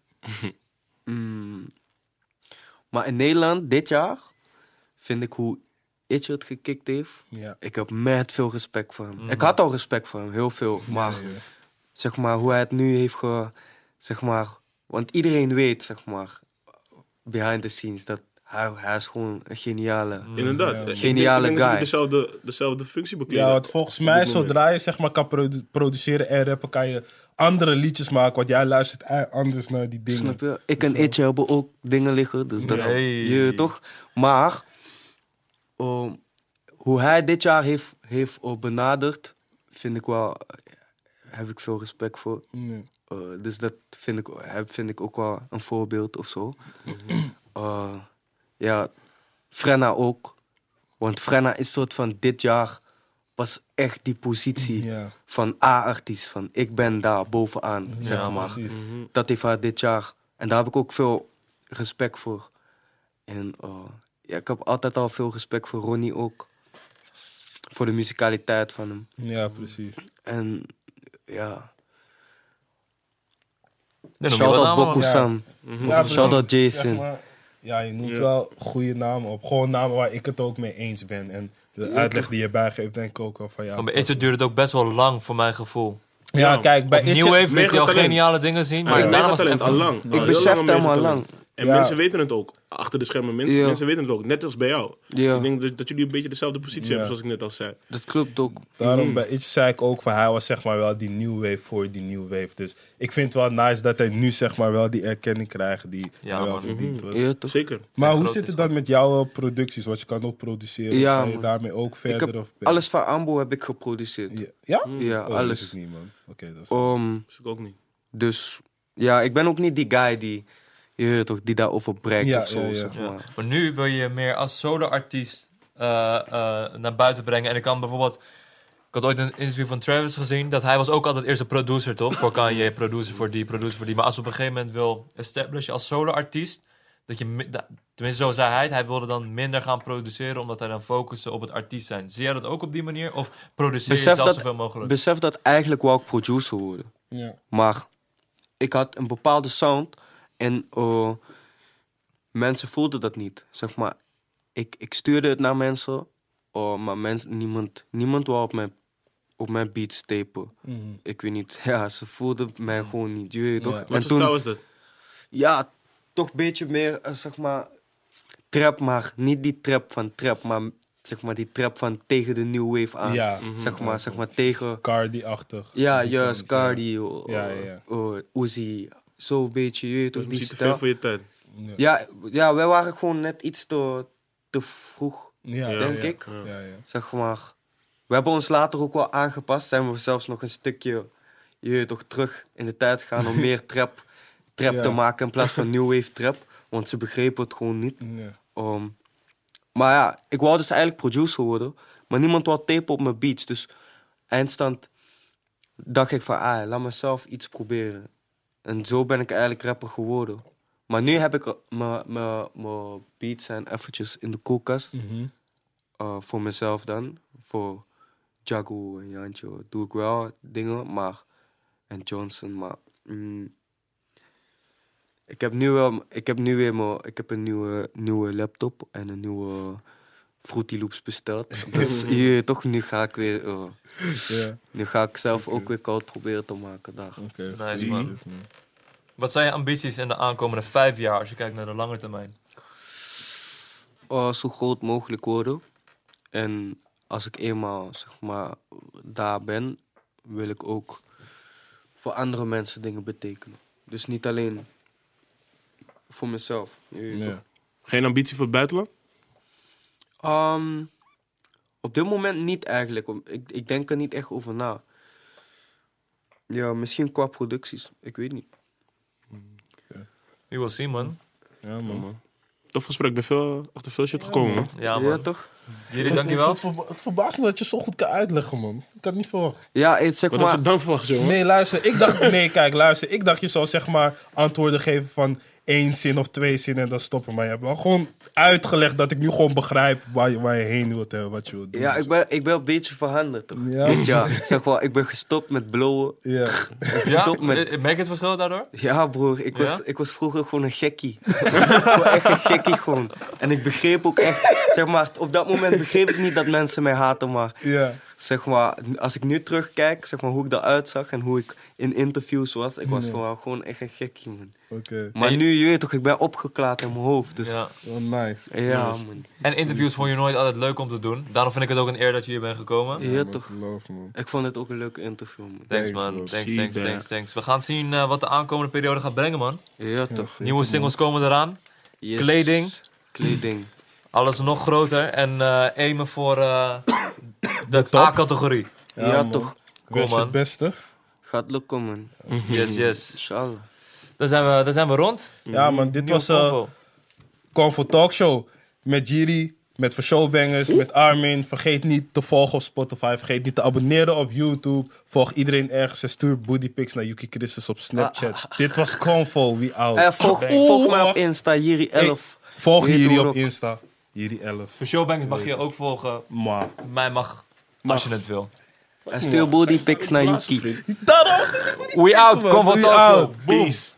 Mm. Maar in Nederland, dit jaar, vind ik hoe Itchy het gekikt heeft.
Ja.
Ik heb met veel respect voor hem.
Mhm.
Ik had al respect voor hem, heel veel. Maar
Mm. Ja, ja.
zeg maar, hoe hij het nu heeft ge... Zeg maar, want iedereen weet, zeg maar, behind the scenes, dat hij, hij is gewoon een geniale...
Inderdaad.
Ja,
Ik denk-
Geniale
ik denk dat
guy.
ze dezelfde, dezelfde functie bekleden.
Ja, want volgens mij, zodra je zeg maar kan produ- produceren en rappen, kan je andere liedjes maken. Want jij luistert ei- anders naar die dingen.
Snap je? Ik en
Dus, eh,
Itje hebben ook dingen liggen, dus dat
Nee.
je toch. Maar ehm, hoe hij dit jaar heeft, heeft eh, benaderd, vind ik wel, heb ik veel respect voor.
Ja.
Eh, dus dat vind ik, heb, vind ik ook wel een voorbeeld of zo. Eh, ja, Frenna ook. Want Frenna is soort van dit jaar pas echt die positie
Ja,
van A-artiest. Van ik ben daar bovenaan, zeg maar
precies.
Mhm.
dat heeft haar dit jaar. En daar heb ik ook veel respect voor. En eh, ja, ik heb altijd al veel respect voor Ronnie ook. Voor de musicaliteit van hem.
Ja, precies.
En ja.
Nee, noem je
Shout
wat
out
namen,
Boku.
man.
ja.
Bokusam.
Ja,
Shout out
precies.
Jason.
maar, ja, je noemt wel goede namen op. Gewoon namen waar ik het ook mee eens ben. En de uitleg die je bijgeeft, denk ik ook wel van ja.
Maar bij Itje duurde het ook best wel lang voor mijn gevoel.
Ja, kijk, bij
Bij New
Itje...
Wave liet hij al
megatalent.
geniale dingen zien,
Maar
maar
ja.
daarna was het
talent, al
even...
lang.
Ik besef hem al lang.
En
Ja.
mensen weten het ook. Achter de schermen, mensen,
Ja.
mensen weten het ook. Net als bij jou.
Ja.
Ik denk dat, dat jullie een beetje dezelfde positie
Ja.
hebben, zoals ik net al zei.
Dat klopt ook.
Mm.
Daarom bij Itje zei ik ook van hij was zeg maar wel die new wave voor die new wave. Dus ik vind het wel nice dat hij nu zeg maar wel die erkenning krijgt die
Ja,
hij wel
man.
verdient. hoor.
Ja, toch?
Zeker.
Maar hoe
groot
zit
is
het dan met jouw eh, producties? Want je kan ook produceren.
Ja,
Ja, je
man.
daarmee ook
Ik
verder?
heb
of ben-
alles van Ambo heb ik geproduceerd.
Ja? ja?
Ja,
Oh, Dat is
alles.
het niet, man. Oké, dat is...
Ehm,
Dat is ik ook niet.
dus ja, ik ben ook niet die guy die, je weet toch, die daarover breekt
Ja,
of zo,
ja, ja.
zeg
Ja.
maar.
Maar nu wil je meer als solo-artiest eh, eh, naar buiten brengen. En ik kan bijvoorbeeld Ik had ooit een interview van Travis gezien. Dat hij was ook altijd eerst een producer, toch? Voor Kanye, producer voor die, producer voor die. Maar als je op een gegeven moment wil establishen als solo-artiest... Dat je, mi- da- tenminste, zo zei hij het. Hij wilde dan minder gaan produceren... omdat hij dan focussen op het artiest zijn. Zie jij dat ook op die manier? Of produceer je
Besef
zelf
dat-
zoveel mogelijk?
Besef dat eigenlijk wou ik producer worden.
Ja.
Maar ik had een bepaalde sound en eh, mensen voelden dat niet. Zeg maar, ik, ik stuurde het naar mensen, eh, maar mens, niemand, niemand wou op mijn, op mijn beat stappen. Ik weet niet, ja, ze voelden mij gewoon niet. Je weet toch?
Mhm. Ja.
Wat voor
En
stijl
toen,
was dat?
ja, toch een beetje meer, eh, zeg maar, trap, maar niet die trap van trap, maar zeg maar die trap van tegen de new wave aan.
Mhm. Ja,
Mhm.
Zeg maar, zeg maar tegen
Ah. Cardi-achtig.
ja,
Die
juist,
kant, ja.
Cardi, oh,
Ja, ja, ja.
oh, Uzi, zo'n beetje, je
Dat
weet toch,
is
die
misschien te veel
stijl.
voor je tijd.
Ja.
Ja, ja, wij waren gewoon net iets te, te vroeg,
Ja,
Ja,
ja,
denk
ja.
ik,
Ja, ja.
zeg maar. We hebben ons later ook wel aangepast, zijn we zelfs nog een stukje, je weet toch, terug in de tijd gaan om meer trap, trap
Ja.
te maken in plaats van new wave trap, want ze begrepen het gewoon niet.
Ja.
Ehm, maar ja, ik wou dus eigenlijk producer worden. Maar niemand wou tape op mijn beats. Dus eindstand dacht ik van, ah, laat mezelf iets proberen. En zo ben ik eigenlijk rapper geworden. Maar nu heb ik eh, mijn- mijn mijn beats en eventjes in de koelkast.
Mhm.
eh, voor mezelf dan. Voor Jago en Jantje doe ik wel dingen, maar... En Johnson, maar... mm, ik heb nu wel, ik heb nu weer mijn, ik heb een nieuwe, nieuwe laptop en een nieuwe Fruity Loops besteld. Dus hier, toch, nu ga ik weer, eh,
Ja,
nu ga ik zelf ook weer koud proberen te maken daar.
oké.
Nice,
Jezus,
man. Wat zijn je ambities in de aankomende vijf jaar... als je kijkt naar de lange termijn?
Eh, zo groot mogelijk worden. En als ik eenmaal, zeg maar, daar ben, wil ik ook voor andere mensen dingen betekenen. Dus niet alleen voor mezelf. je weet toch.
Ja.
Geen ambitie voor het buitenland?
Ehm, op dit moment niet eigenlijk. om- Ik, ik denk er niet echt over na. Ja, misschien qua producties. Ik weet niet.
You will see, man.
Ja, man.
Oh, Tof gesprek, ben veel, achter veel shit gekomen. man.
Ja, man.
toch?
Jullie,
Het,
dankjewel.
het verba- het verbaast me dat je zo goed kan uitleggen, man. Ik had niet verwacht.
Ja, het, zeg
Wat had
maar...
je dan verwacht, jongen?
Nee, luister. Ik dacht, nee, kijk, luister. Ik dacht, je zou zeg maar antwoorden geven van één zin of twee zinnen en dan stoppen. Maar je hebt wel gewoon uitgelegd dat ik nu gewoon begrijp waar je, waar je heen wilt en wat je wilt doen.
Ja, ik ben, ik ben een beetje veranderd, toch?
Ja.
Weet je, ja, zeg maar, ik ben gestopt met blowen.
Ja.
Ja,
Stop met-
eh, merk je het verschil daardoor?
Ja, broer, ik,
Ja?
Was, ik was vroeger gewoon een gekkie. gewoon echt een gekkie gewoon. En ik begreep ook echt, zeg maar, op dat moment begreep ik niet dat mensen mij haten, maar
Ja.
zeg maar, als ik nu terugkijk, zeg maar, hoe ik eruit zag en hoe ik in interviews was, ik was
Ja.
gewoon, gewoon echt een gekkie, man.
Oké.
Maar nu, je weet toch, ik ben opgeklaard in mijn hoofd, dus ja,
Ja.
Oh, nice.
man.
En interviews vond je nooit altijd leuk om te doen. Daarom vind ik het ook een eer dat je hier bent gekomen.
Ja,
man,
toch.
geloof, man.
Ik vond het ook een leuk interview, man.
Thanks
Thanks,
man,
bro.
thanks,
See
thanks,
you
thanks,
back.
thanks, We gaan zien eh, wat de aankomende periode gaat brengen man.
Ja,
Ja,
toch.
zeker,
Nieuwe singles komen eraan.
Yes.
Kleding,
Kleding.
alles nog groter. En eh aimen voor eh, de
top.
A-categorie.
man.
ja,
man.
toch.
Cool,
Wens je
man.
het beste.
Gaat lukken, man.
Yes, yes.
Inshallah.
Daar zijn we, daar zijn we rond.
Ja, man. Dit was...
Nieuwe
eh,
convo.
Kom voor Talkshow. Met Jiri, met Vershowbangers, met Armin. Vergeet niet te volgen op Spotify. Vergeet niet te abonneren op YouTube. Volg iedereen ergens en stuur bodypics naar Yuki Christus op Snapchat. Dit was Convo, we out.
Ah. Eh, volg,
Bang.
volg mij op Insta, Jiri11.
Volg
Hier
Jiri
doen we
op
ook.
Insta. Jiri 11.
Voor Showbanks mag je ook volgen.
Ma.
Mij mag, als je het wil.
En stuur bodypics naar Yuki.
Daarom.
We out,
Convo
Convo Talk Show.
Peace.